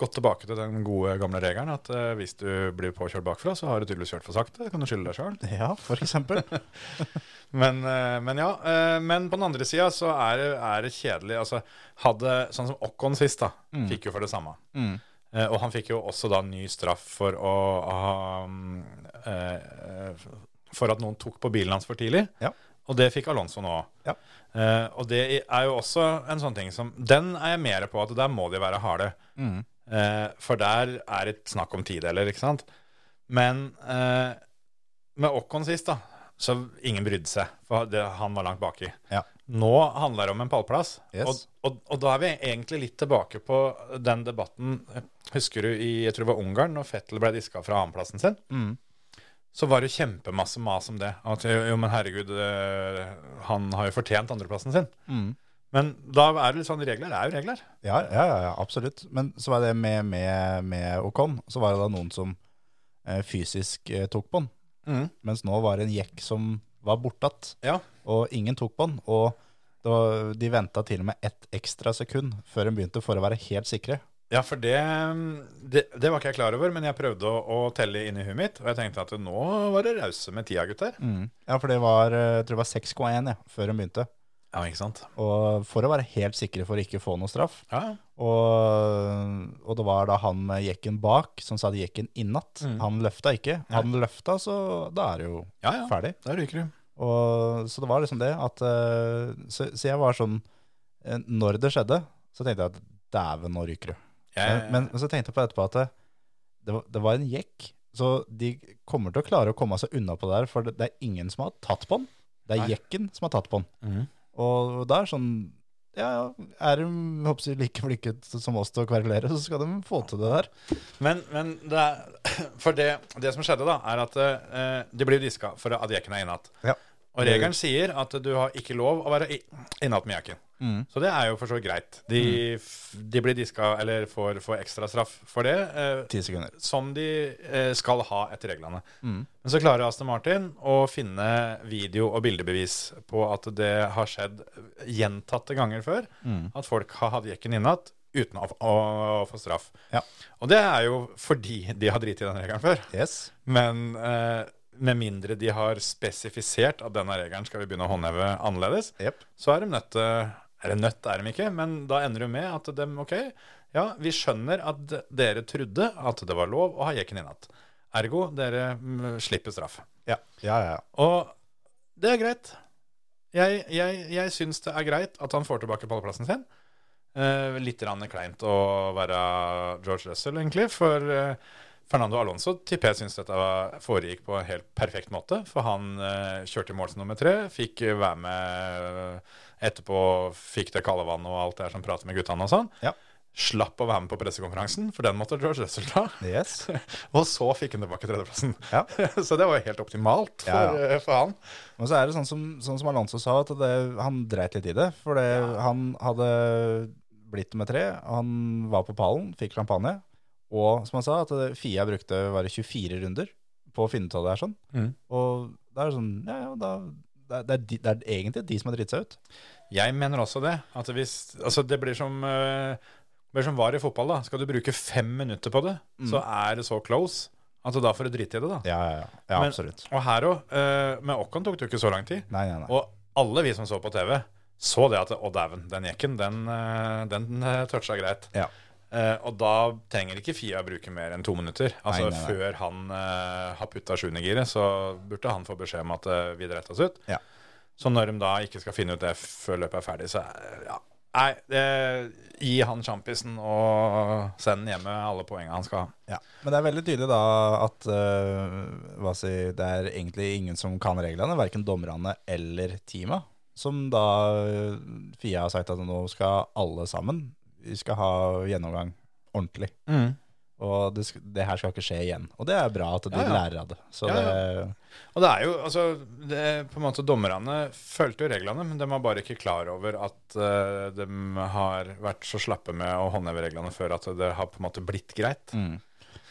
[SPEAKER 2] Gått tilbake til den gode gamle regelen at eh, hvis du blir påkjørt bakfra, så har du tydeligvis kjørt for sakte. Kan du skylde deg sjøl?
[SPEAKER 3] Ja, for eksempel.
[SPEAKER 2] Men, eh, men ja. eh, men på den andre sida så er det, er det kjedelig. Altså, hadde, sånn som Okkon sist, da, fikk jo for det samme. Eh, og han fikk jo også da ny straff for å ha mm, eh, eh, For at noen tok på bilen hans for tidlig.
[SPEAKER 3] Ja.
[SPEAKER 2] Og det fikk Alonso nå òg.
[SPEAKER 3] Ja.
[SPEAKER 2] Eh, og det er jo også en sånn ting som Den er jeg mer på at der må de være harde. Eh, for der er det snakk om tideler, ikke sant? Men eh, med Okkon sist, da, så ingen brydde seg. For det, han var langt baki.
[SPEAKER 3] Ja.
[SPEAKER 2] Nå handler det om en pallplass.
[SPEAKER 3] Yes.
[SPEAKER 2] Og, og, og da er vi egentlig litt tilbake på den debatten Husker du i jeg tror det var Ungarn, når Fettel ble diska fra annenplassen sin?
[SPEAKER 3] Mm.
[SPEAKER 2] Så var det kjempemasse mas om det. At jo, jo, men herregud, eh, han har jo fortjent andreplassen sin.
[SPEAKER 3] Mm.
[SPEAKER 2] Men da er det litt sånn regler er jo regler.
[SPEAKER 3] Ja, ja, ja, ja absolutt. Men så var det med, med, med Ocon, så var det da noen som eh, fysisk eh, tok på han. Mens nå var det en jekk som var bortatt,
[SPEAKER 2] Ja.
[SPEAKER 3] og ingen tok på han. Og det var, de venta til og med ett ekstra sekund før de begynte, for å være helt sikre.
[SPEAKER 2] Ja, for det, mm, det, det var ikke jeg klar over, men jeg prøvde å, å telle inn i huet mitt, og jeg tenkte at nå var det rause med tida, gutter.
[SPEAKER 3] Ja, for det var, eh, jeg tror det var 6,1 ja, før de begynte.
[SPEAKER 2] Ja, ikke sant?
[SPEAKER 3] Og for å være helt sikre for å ikke få noe straff.
[SPEAKER 2] Ja,
[SPEAKER 3] Og, og det var da han med jekken bak som sa jekken innatt. Han løfta ikke. Han løfta, så da er det jo
[SPEAKER 2] ja. ja.
[SPEAKER 3] ferdig.
[SPEAKER 2] Der ryker du.
[SPEAKER 3] Og, så det var liksom det at eh, så, så jeg var sånn eh, Når det skjedde, så tenkte jeg at dæven, nå ryker du.
[SPEAKER 2] Jeg-
[SPEAKER 3] Men, men så tenkte jeg på etterpå at det, det, var, det var en jekk. Så de kommer til å klare å komme seg unna på det her, for det, det er ingen som har tatt på den. Det er
[SPEAKER 2] Nei.
[SPEAKER 3] jekken som har tatt på den.
[SPEAKER 2] Mm.
[SPEAKER 3] Og da er det sånn Ja, ja, er de håper jeg, like flinke som oss til å kverulere, så skal de få til det der.
[SPEAKER 2] Men, men det er, for det, det som skjedde da, er at eh, de blir diska for at jekken er innatt.
[SPEAKER 3] Ja.
[SPEAKER 2] Og regelen sier at du har ikke lov å være i- innatt med jakken. Så det er jo for så vidt greit. De, f- de blir diska eller får, får ekstra straff for det, eh,
[SPEAKER 3] Ti sekunder.
[SPEAKER 2] som de eh, skal ha etter reglene. Men så klarer Aston Martin å finne video- og bildebevis på at det har skjedd gjentatte ganger før, at folk har hatt jekken innatt uten å, å, å få straff.
[SPEAKER 3] Ja.
[SPEAKER 2] Og det er jo fordi de har driti i den regelen før.
[SPEAKER 3] Yes.
[SPEAKER 2] Men eh, med mindre de har spesifisert at denne regelen skal vi begynne å håndheve annerledes,
[SPEAKER 3] Jepp.
[SPEAKER 2] så er de nødt til Eller nødt er de ikke, men da ender det med at de OK, ja, vi skjønner at d- dere trodde at det var lov å ha jekken innatt. Ergo, dere mm, slipper straff.
[SPEAKER 3] Ja, ja, ja.
[SPEAKER 2] Og det er greit. Jeg, jeg, jeg syns det er greit at han får tilbake pallplassen sin. Eh, litt rann kleint å være George Russell, egentlig. For eh, Fernando Alonso tipper jeg syns dette var, foregikk på en helt perfekt måte. For han eh, kjørte i mål som nummer tre, fikk eh, være med eh, etterpå, fikk det kalde vannet og alt det her som prater med guttene og sånn.
[SPEAKER 3] Ja.
[SPEAKER 2] Slapp å være med på pressekonferansen, for den måtte George Russell ta.
[SPEAKER 3] Yes.
[SPEAKER 2] Og så fikk han tilbake tredjeplassen.
[SPEAKER 3] Ja.
[SPEAKER 2] så det var jo helt optimalt for,
[SPEAKER 3] Ja, ja.
[SPEAKER 2] eh, for han.
[SPEAKER 3] Men så er det sånn som, sånn som Alonso sa, at det, han dreit litt i det. For det, han hadde blitt nummer tre, han var på pallen, fikk champagne. Og som han sa, at det- Fia brukte bare 24 runder på å finne ut av det her sånn.
[SPEAKER 2] Mhm.
[SPEAKER 3] Og da er det sånn, ja, ja, da, det, er- det, er de, det er egentlig de som har dritt seg ut.
[SPEAKER 2] Jeg mener også det. At hvis, altså det blir som, eh, blir som var i fotball. da. Skal du bruke fem minutter på det, så er det så close at da får du drite i det. da.
[SPEAKER 3] Ja, ja, ja. ja
[SPEAKER 2] Men-
[SPEAKER 3] absolutt.
[SPEAKER 2] Og her òg. med Ocon tok det jo ikke så lang tid.
[SPEAKER 3] Nei, nei, nei.
[SPEAKER 2] Og alle vi som så på TV, så det at Å, dæven, den jekken, den, eh, den eh, toucha greit.
[SPEAKER 3] Ja.
[SPEAKER 2] Eh, og da trenger ikke Fia bruke mer enn to minutter. Altså
[SPEAKER 3] Nei, nei, nei.
[SPEAKER 2] Før han eh, har putta sjuende giret, så burde han få beskjed om at eh, vi dreit oss ut.
[SPEAKER 3] Ja.
[SPEAKER 2] Så når de da ikke skal finne ut det før løpet er ferdig, så er- ja. Nei, det, gi han sjampisen og send hjemme alle poengene han skal ha.
[SPEAKER 3] Ja. Men det er veldig tydelig da at eh, hva si, det er egentlig ingen som kan reglene, verken dommerne eller teamet. Som da eh, Fia har sagt at nå skal alle sammen Vi skal ha gjennomgang ordentlig. Og det, sk- det her skal ikke skje igjen. Og det er bra at de
[SPEAKER 2] Ja, ja.
[SPEAKER 3] lærer av det. Så
[SPEAKER 2] Ja,
[SPEAKER 3] det,
[SPEAKER 2] Og det er jo, altså, det, på en måte Dommerne fulgte jo reglene, men de var bare ikke klar over at eh, de har vært så slappe med å håndheve reglene før at det har på en måte blitt greit.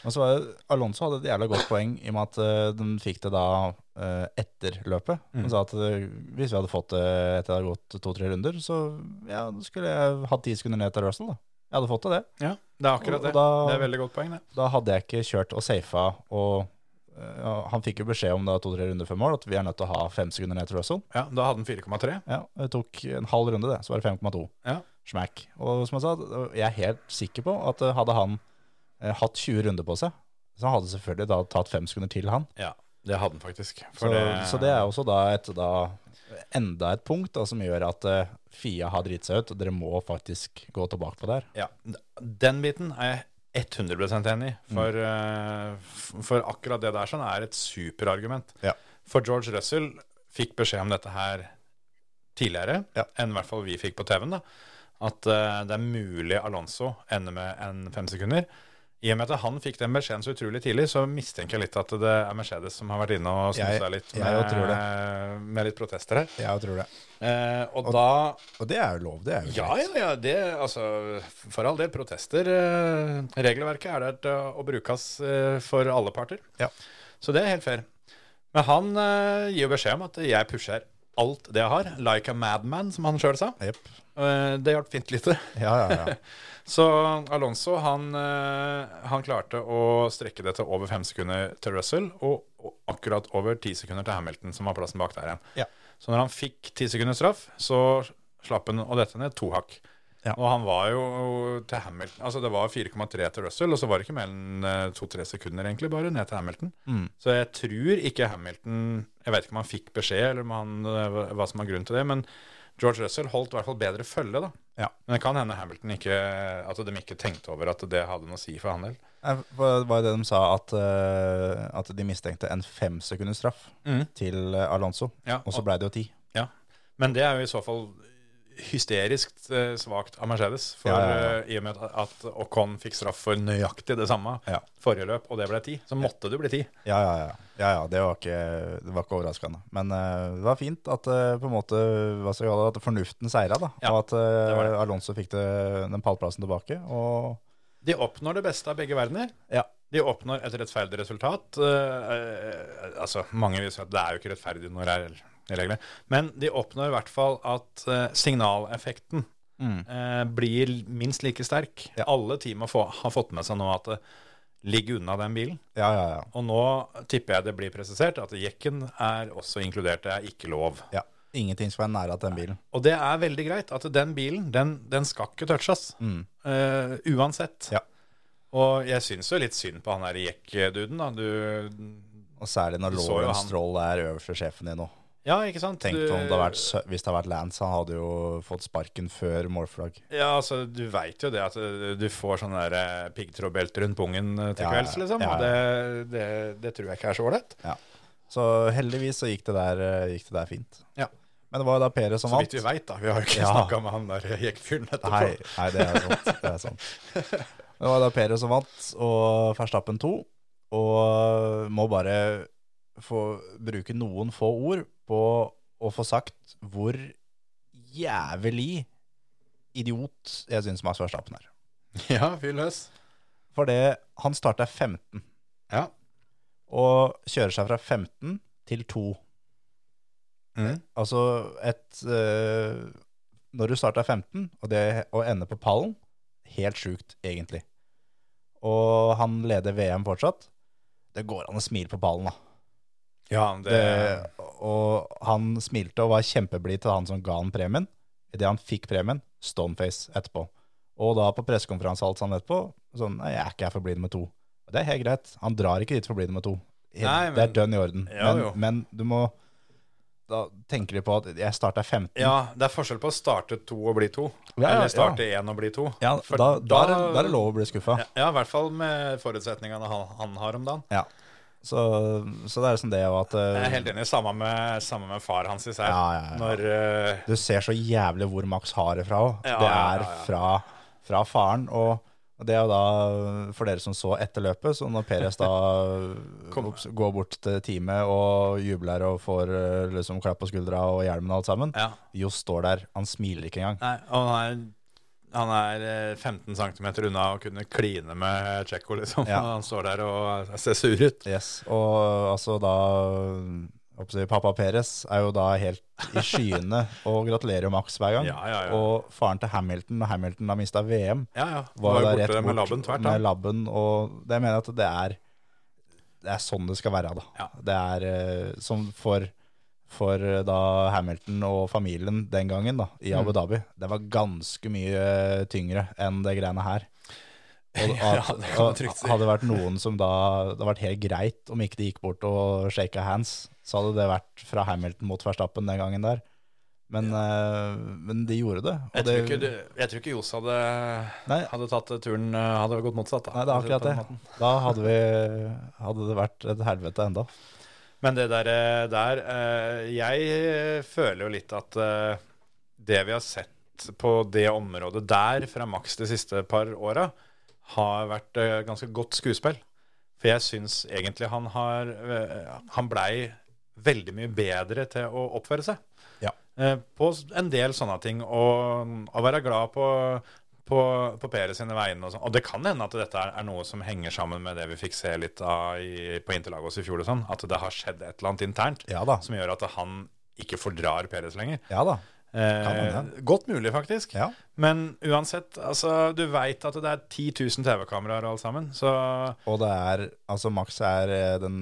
[SPEAKER 3] Og så var det, Alonso hadde et jævla godt poeng i og med at eh, de fikk det da eh, etter løpet.
[SPEAKER 2] Mm.
[SPEAKER 3] Han sa at eh, hvis vi hadde fått det etter det hadde gått to-tre runder, så ja, da skulle jeg hatt ti sekunder ned til Russell. da. Jeg hadde fått til det.
[SPEAKER 2] Ja, Det er akkurat
[SPEAKER 3] Og- og
[SPEAKER 2] det.
[SPEAKER 3] da-
[SPEAKER 2] det er et veldig godt poeng, det.
[SPEAKER 3] Da hadde jeg ikke kjørt og safa og eh, ja, han fikk jo beskjed om da to-tre runder før mål at vi er nødt til å ha fem sekunder ned til Russell.
[SPEAKER 2] Ja, Da hadde den 4,3.
[SPEAKER 3] Ja, Det tok en halv runde, det. Så var det 5,2.
[SPEAKER 2] Ja.
[SPEAKER 3] Smack. Og som jeg sa, jeg er helt sikker på at eh, hadde han eh, hatt 20 runder på seg, så hadde selvfølgelig da tatt fem sekunder til han.
[SPEAKER 2] ja, det hadde den faktisk.
[SPEAKER 3] Så,
[SPEAKER 2] For det-
[SPEAKER 3] så det er også da et da, enda et punkt da, som gjør at eh, Fia har driti seg ut. og Dere må faktisk gå tilbake på det her.
[SPEAKER 2] Ja, Den biten er jeg 100 enig i. For, eh, f- for akkurat det der sånn er et superargument.
[SPEAKER 3] Mm. Ja.
[SPEAKER 2] For George Russell fikk beskjed om dette her tidligere
[SPEAKER 3] Ja.
[SPEAKER 2] enn i hvert fall vi fikk på TV-en. da, At eh, det er mulig Alonso ender med en fem sekunder. I og med at han fikk den beskjeden så utrolig tidlig, så mistenker jeg litt at det er Mercedes som har vært inne og
[SPEAKER 3] Jeg-
[SPEAKER 2] snusa litt
[SPEAKER 3] jeg
[SPEAKER 2] med,
[SPEAKER 3] tror
[SPEAKER 2] med litt protester her.
[SPEAKER 3] Ja, jeg tror det.
[SPEAKER 2] Eh, og da
[SPEAKER 3] Og det er jo lov, det er
[SPEAKER 2] ja, ja, ja. Det, altså, for all del, protester. Eh, regelverket er der til å brukes eh, for alle parter.
[SPEAKER 3] Ja.
[SPEAKER 2] Så det er helt fair. Men han eh, gir jo beskjed om at jeg pusher alt det jeg har. Like a madman, som han sjøl sa.
[SPEAKER 3] Jepp.
[SPEAKER 2] Eh, det hjalp fint lite.
[SPEAKER 3] Ja, ja, ja.
[SPEAKER 2] Så Alonso han, eh, han klarte å strekke det til over fem sekunder til Russell, og, og akkurat over ti sekunder til Hamilton, som var plassen bak der igjen.
[SPEAKER 3] Ja.
[SPEAKER 2] Så når han fikk ti sekunder straff, så slapp han å dette ned to hakk.
[SPEAKER 3] Ja.
[SPEAKER 2] Og han var jo til Hamilton Altså det var 4,3 til Russell, og så var det ikke mer enn eh, to-tre sekunder egentlig bare ned til Hamilton.
[SPEAKER 3] Mm.
[SPEAKER 2] Så jeg tror ikke Hamilton Jeg vet ikke om han fikk beskjed, eller om han, eh, hva som er grunnen til det, men George Russell holdt i hvert fall bedre følge, da.
[SPEAKER 3] Ja.
[SPEAKER 2] Men det kan hende Hamilton ikke At de ikke tenkte over at det hadde noe å si for han del.
[SPEAKER 3] Nei, for Det var jo det de sa, at, eh, at de mistenkte en fem sekunders straff til eh, Alonso.
[SPEAKER 2] Ja,
[SPEAKER 3] og så
[SPEAKER 2] og-
[SPEAKER 3] ble det jo ti.
[SPEAKER 2] Ja. Men det er jo i så fall hysterisk eh, svakt av Mercedes. For
[SPEAKER 3] Ja, ja, ja.
[SPEAKER 2] eh, i og med at at Ocon fikk straff for nøyaktig det samme
[SPEAKER 3] Ja.
[SPEAKER 2] forrige løp, og det ble ti, så måtte det bli ti.
[SPEAKER 3] Ja, ja, ja. ja, ja det, var ikke, det var ikke overraskende. Men eh, det var fint at, eh, på en måte, hva skal vi kalle det, at fornuften seira. da,
[SPEAKER 2] Ja,
[SPEAKER 3] Og at eh,
[SPEAKER 2] det var det.
[SPEAKER 3] Alonso fikk det, den pallplassen tilbake. Og
[SPEAKER 2] De oppnår det beste av begge verdener.
[SPEAKER 3] ja,
[SPEAKER 2] De oppnår et rettferdig resultat. Eh, eh, altså, mange vil si at det er jo ikke rettferdig når det er regler. Men de oppnår i hvert fall at eh, signaleffekten eh, blir minst like sterk.
[SPEAKER 3] Mm. Ja.
[SPEAKER 2] Alle team har, få, har fått med seg nå at det ligger unna den bilen.
[SPEAKER 3] ja, ja. ja.
[SPEAKER 2] Og nå tipper jeg det blir presisert at jekken er også inkludert. Det er ikke lov.
[SPEAKER 3] ja. Ingenting skal være nære at den bilen.
[SPEAKER 2] Og det er veldig greit at den bilen, den, den skal ikke touches. eh, uansett.
[SPEAKER 3] Mm. Ja.
[SPEAKER 2] Og jeg syns jo litt synd på han der jekk-duden, da. Du
[SPEAKER 3] Og særlig når
[SPEAKER 2] Du så jo
[SPEAKER 3] Lauren
[SPEAKER 2] han.
[SPEAKER 3] Stroll er øverste sjefen din nå.
[SPEAKER 2] Ja, ikke sant?
[SPEAKER 3] Tenk
[SPEAKER 2] Du-
[SPEAKER 3] om det hadde vært, Sø- hvis det hadde vært Lance, han hadde jo fått sparken før målflagg.
[SPEAKER 2] Ja, altså, du veit jo det at eh, du får sånn der eh, piggtrådbelte rundt pungen eh, til
[SPEAKER 3] Ja, ja,
[SPEAKER 2] kvelds, liksom.
[SPEAKER 3] ja,
[SPEAKER 2] og
[SPEAKER 3] ja.
[SPEAKER 2] Det, det, det tror jeg ikke er så ålreit.
[SPEAKER 3] Så heldigvis så gikk det der, eh, gikk det der fint.
[SPEAKER 2] Ja.
[SPEAKER 3] Men det var jo da Pere som
[SPEAKER 2] Så
[SPEAKER 3] vant.
[SPEAKER 2] vidt vi veit, da. Vi har jo ikke
[SPEAKER 3] Ja.
[SPEAKER 2] snakka med han der jekkfyren etterpå.
[SPEAKER 3] Nei, nei, det er sant. Det er sant. Det var da Pere som vant, og Verstappen to. Og eh, må bare få bruke noen få ord på å få sagt hvor jævlig idiot jeg syns Max Verstappen er.
[SPEAKER 2] Ja, fyr løs.
[SPEAKER 3] For det, han starter 15,
[SPEAKER 2] Ja.
[SPEAKER 3] og kjører seg fra 15 til 2.
[SPEAKER 2] Mm.
[SPEAKER 3] Altså et eh, Når du starter 15 og, det, og ender på pallen, helt sjukt, egentlig. Og han leder VM fortsatt. Det går an å smile på pallen, da.
[SPEAKER 2] Ja, det,
[SPEAKER 3] Det, og han smilte og var kjempeblid til han som ga han premien. Idet han fikk premien, stoneface etterpå. Og da på pressekonferanse og alt sånn etterpå, sånn Nei, jeg er ikke her for å bli nummer to. Og Det er helt greit. Han drar ikke dit for å bli nummer to. Helt,
[SPEAKER 2] Nei, men-
[SPEAKER 3] det er dønn i orden.
[SPEAKER 2] Ja,
[SPEAKER 3] men,
[SPEAKER 2] jo.
[SPEAKER 3] men du må Da tenker de på at jeg starta 15.
[SPEAKER 2] ja, det er forskjell på å starte to og bli to.
[SPEAKER 3] Ja, ja,
[SPEAKER 2] Eller starte én og bli to.
[SPEAKER 3] Ja,
[SPEAKER 2] For
[SPEAKER 3] da, da, er det, da er det lov å bli skuffa.
[SPEAKER 2] Ja, ja, i hvert fall med forutsetningene han, han har om dagen.
[SPEAKER 3] Så, så det er liksom det og at eh,
[SPEAKER 2] Jeg er helt enig. Samme med, samme med far hans især.
[SPEAKER 3] Ja, ja, ja.
[SPEAKER 2] Når eh,
[SPEAKER 3] Du ser så jævlig hvor Max har det fra. også.
[SPEAKER 2] Ja,
[SPEAKER 3] det
[SPEAKER 2] ja,
[SPEAKER 3] er
[SPEAKER 2] ja, ja.
[SPEAKER 3] Fra, fra faren. Og det er jo da, for dere som så etter løpet, så når Perez da
[SPEAKER 2] Kom.
[SPEAKER 3] ops- går bort til teamet og jubler og får eh, liksom klapp på skuldra og hjelmen og alt sammen,
[SPEAKER 2] Ja.
[SPEAKER 3] Jo står der, han smiler ikke engang.
[SPEAKER 2] Nei, og han er, han er eh, 15 cm unna å kunne kline med Tsjekko, liksom.
[SPEAKER 3] Ja.
[SPEAKER 2] Og Han står der og ser sur ut.
[SPEAKER 3] Yes, Og altså da håper jeg å si, Pappa Perez er jo da helt i skyene og gratulerer jo Max hver gang.
[SPEAKER 2] Ja, ja, ja.
[SPEAKER 3] Og faren til Hamilton, når Hamilton har mista VM,
[SPEAKER 2] Ja, ja.
[SPEAKER 3] var
[SPEAKER 2] jo
[SPEAKER 3] da
[SPEAKER 2] borte
[SPEAKER 3] rett bort
[SPEAKER 2] med labben tvert.
[SPEAKER 3] med
[SPEAKER 2] Da.
[SPEAKER 3] labben, og det mener jeg at det er det er sånn det skal være da.
[SPEAKER 2] Ja.
[SPEAKER 3] Det er eh, som for, for eh, da Hamilton og familien den gangen da, i
[SPEAKER 2] Mm.
[SPEAKER 3] Abu Dhabi, det var ganske mye eh, tyngre enn det greiene her. Og,
[SPEAKER 2] Ja,
[SPEAKER 3] at-
[SPEAKER 2] det kan
[SPEAKER 3] og
[SPEAKER 2] du trygt si.
[SPEAKER 3] Hadde det vært noen som da, det hadde vært helt greit om ikke de gikk bort og shaket hands, så hadde det vært fra Hamilton mot Verstappen den gangen der. Men, eh, men de gjorde det. og
[SPEAKER 2] Jeg tror
[SPEAKER 3] det-
[SPEAKER 2] ikke, du- jeg tror ikke Johs hadde,
[SPEAKER 3] Nei.
[SPEAKER 2] hadde tatt turen eh, Hadde gått motsatt, da.
[SPEAKER 3] Nei, det er akkurat
[SPEAKER 2] På den
[SPEAKER 3] det.
[SPEAKER 2] måten.
[SPEAKER 3] Da hadde, vi, hadde det vært et helvete enda.
[SPEAKER 2] Men det der, eh, der eh, Jeg eh, føler jo litt at eh, det vi har sett på det området der fra Max de siste par åra, har vært eh, ganske godt skuespill. For jeg syns egentlig han har eh, Han blei veldig mye bedre til å oppføre seg.
[SPEAKER 3] Ja.
[SPEAKER 2] Eh, På s- en del sånne ting. Og mm, å være glad på på, på Per sine vegne. Og, sånn. og det kan hende at dette er, er noe som henger sammen med det vi fikk se litt av i, på Interlagos i fjor. og sånn, At det har skjedd et eller annet internt
[SPEAKER 3] Ja da.
[SPEAKER 2] som gjør at han ikke fordrar Peres lenger.
[SPEAKER 3] Ja da.
[SPEAKER 2] Eh,
[SPEAKER 3] hende.
[SPEAKER 2] godt mulig, faktisk.
[SPEAKER 3] Ja.
[SPEAKER 2] Men uansett, altså, du veit at det er 10 000 TV-kameraer alt sammen, så
[SPEAKER 3] Og det er, altså Max er eh, den,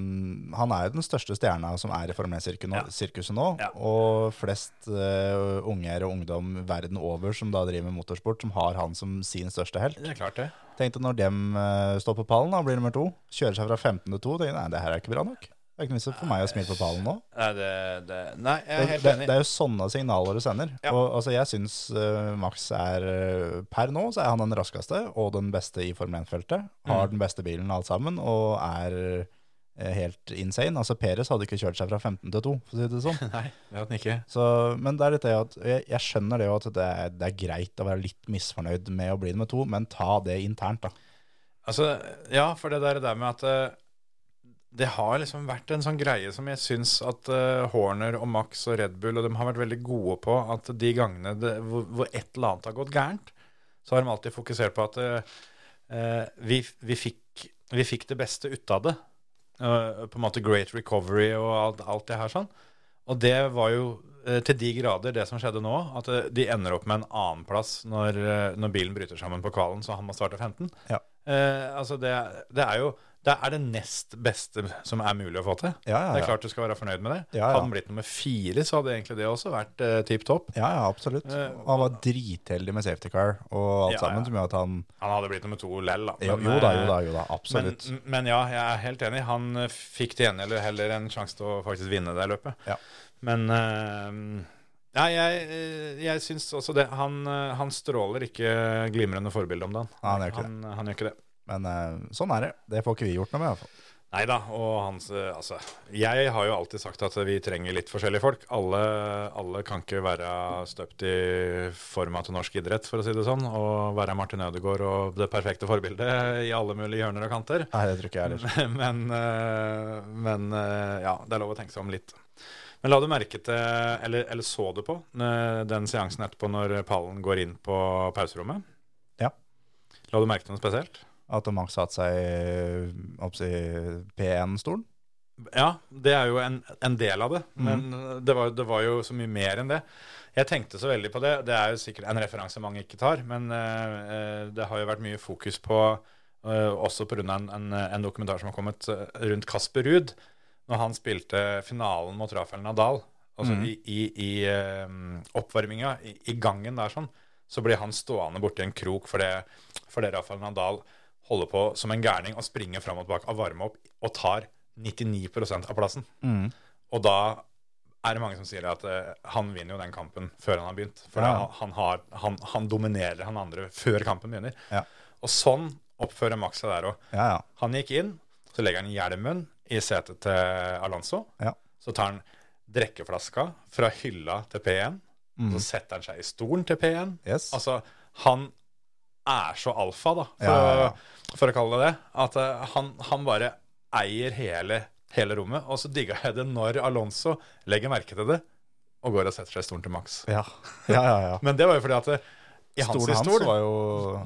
[SPEAKER 3] han er jo den største stjerna som er i Formel 1-sirkuset nå,
[SPEAKER 2] Ja.
[SPEAKER 3] sirkuset nå
[SPEAKER 2] Ja.
[SPEAKER 3] og flest eh, unger og ungdom verden over som da driver med motorsport, som har han som sin største helt.
[SPEAKER 2] det er klart, det.
[SPEAKER 3] Tenkte når dem eh, står på pallen da, blir nummer to, kjører seg fra 15 til 2, tenkte jeg, nei, det her er ikke bra nok. Det er ikke noe vits for meg å smile på pallen nå.
[SPEAKER 2] Nei, det, det Nei, jeg er
[SPEAKER 3] det,
[SPEAKER 2] helt
[SPEAKER 3] det,
[SPEAKER 2] enig.
[SPEAKER 3] det er jo sånne signaler du sender.
[SPEAKER 2] Ja.
[SPEAKER 3] Og altså, jeg syns Max er eh, Per nå så er han den raskeste og den beste i Formel 1-feltet.
[SPEAKER 2] Mm.
[SPEAKER 3] Har den beste bilen alt sammen og er eh, helt insane. Altså Peres hadde ikke kjørt seg fra 15 til 2, for å si det sånn.
[SPEAKER 2] Nei, det er at den ikke
[SPEAKER 3] Så, men det er litt det at jeg, jeg skjønner det jo at det er, det er greit å være litt misfornøyd med å bli nummer to, men ta det internt, da.
[SPEAKER 2] Altså, ja, for det der, det der med at eh, det har liksom vært en sånn greie som jeg syns at eh, Horner og Max og Red Bull og dem har vært veldig gode på at de gangene det, hvor, hvor et eller annet har gått gærent, så har de alltid fokusert på at eh, eh, vi, vi, fikk, vi fikk det beste ut av det. Eh, på en måte great recovery og alt, alt det her sånn. Og det var jo eh, til de grader det som skjedde nå, at eh, de ender opp med en annen plass når, eh, når bilen bryter sammen på kvalen, så han må starte 15.
[SPEAKER 3] Ja.
[SPEAKER 2] Eh, altså det, det er jo det er det nest beste som er mulig å få til.
[SPEAKER 3] Ja, ja,
[SPEAKER 2] Det
[SPEAKER 3] ja.
[SPEAKER 2] er klart du skal være fornøyd med det.
[SPEAKER 3] Ja, ja.
[SPEAKER 2] Hadde den blitt nummer fire, så hadde egentlig det også vært uh, tipp topp.
[SPEAKER 3] Ja, ja, absolutt.
[SPEAKER 2] Eh,
[SPEAKER 3] Han var dritheldig med safety car og alt
[SPEAKER 2] Ja,
[SPEAKER 3] sammen,
[SPEAKER 2] ja.
[SPEAKER 3] som gjør at han
[SPEAKER 2] Han hadde blitt nummer to lell, da.
[SPEAKER 3] jo,
[SPEAKER 2] Men,
[SPEAKER 3] jo da,
[SPEAKER 2] eh,
[SPEAKER 3] jo da, jo da,
[SPEAKER 2] Men,
[SPEAKER 3] absolutt.
[SPEAKER 2] men ja, jeg er helt enig. Han eh, fikk til gjengjeld heller en sjanse til å faktisk vinne det løpet.
[SPEAKER 3] Ja.
[SPEAKER 2] Men eh, Nei, jeg, eh, jeg syns også det. Han, eh, han stråler ikke glimrende forbilde om dagen.
[SPEAKER 3] Nei, han gjør ikke
[SPEAKER 2] han, han gjør ikke det.
[SPEAKER 3] Men eh, sånn er det. Det får ikke vi gjort noe med, i hvert fall.
[SPEAKER 2] Nei da, og hans eh, Altså, jeg har jo alltid sagt at vi trenger litt forskjellige folk. Alle, alle kan ikke være støpt i forma til norsk idrett, for å si det sånn. Og være Martin Ødegaard og det perfekte forbildet i alle mulige hjørner og kanter.
[SPEAKER 3] Nei, det tror ikke jeg heller.
[SPEAKER 2] Men, eh, men eh, ja, det er lov å tenke seg om litt. Men la du merke til, eller, eller så du på, eh, den seansen etterpå når pallen går inn på pauserommet?
[SPEAKER 3] Ja.
[SPEAKER 2] La du merke til noe spesielt?
[SPEAKER 3] At Max satte seg eh, opp i P1-stolen.
[SPEAKER 2] Ja, det er jo en, en del av det, men eh, det var, det var jo så mye mer enn det. Jeg tenkte så veldig på det. Det er jo sikkert en referanse mange ikke tar, men eh, eh, det har jo vært mye fokus på, eh, også pga. En, en, en dokumentar som har kommet eh, rundt Kasper Ruud, når han spilte finalen mot Rafael Nadal. Altså
[SPEAKER 3] Mhm.
[SPEAKER 2] i, i, i eh, oppvarminga, i, i gangen der sånn, så blir han stående borti en krok fordi for Rafael Nadal holder på som en gærning og springer fram og tilbake og varmer opp og tar 99 av plassen. Og da er det mange som sier at eh, han vinner jo den kampen før han har begynt. For
[SPEAKER 3] Ja.
[SPEAKER 2] da han, han, har, han, han dominerer han andre før kampen begynner.
[SPEAKER 3] Ja.
[SPEAKER 2] Og sånn oppfører Max seg der òg.
[SPEAKER 3] Ja, ja.
[SPEAKER 2] Han gikk inn, så legger han hjelmen i setet til Alonso.
[SPEAKER 3] Ja.
[SPEAKER 2] Så tar han drikkeflaska fra hylla til P1. Så
[SPEAKER 3] Mhm.
[SPEAKER 2] setter han seg i stolen til P1.
[SPEAKER 3] Yes.
[SPEAKER 2] Altså, han er så alfa, da, for,
[SPEAKER 3] Ja, ja, ja.
[SPEAKER 2] for å kalle det det. At eh, han, han bare eier hele, hele rommet. Og så digga jeg det når Alonso legger merke til det og går og setter seg i stolen til Max.
[SPEAKER 3] Ja, ja, ja. ja.
[SPEAKER 2] Men det var jo fordi at eh, i hans
[SPEAKER 3] Stolen hans
[SPEAKER 2] stol,
[SPEAKER 3] var jo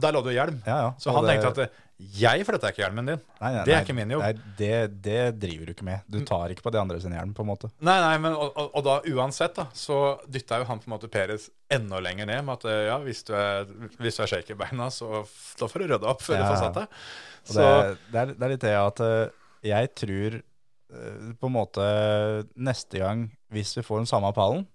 [SPEAKER 2] der lå det jo hjelm.
[SPEAKER 3] Ja, ja.
[SPEAKER 2] Så
[SPEAKER 3] Og
[SPEAKER 2] han
[SPEAKER 3] det-
[SPEAKER 2] tenkte at eh, jeg flytter ikke hjelmen din.
[SPEAKER 3] Nei, nei,
[SPEAKER 2] det er
[SPEAKER 3] nei,
[SPEAKER 2] ikke min jobb. Mm.
[SPEAKER 3] Nei, det, det driver du ikke med. Du tar ikke på de andre sin hjelm, på en måte.
[SPEAKER 2] Nei, nei, men og, og, og da uansett da, så dytta jo han på en måte Peres enda lenger ned med at eh, ja, hvis du er, hvis du er shake i beina, så f- da får du rydde opp før
[SPEAKER 3] Ja,
[SPEAKER 2] du får
[SPEAKER 3] ja.
[SPEAKER 2] satt deg.
[SPEAKER 3] Og
[SPEAKER 2] Så,
[SPEAKER 3] Det, det, er, det er litt det at eh, jeg tror eh, på en måte neste gang, hvis vi får den samme pallen,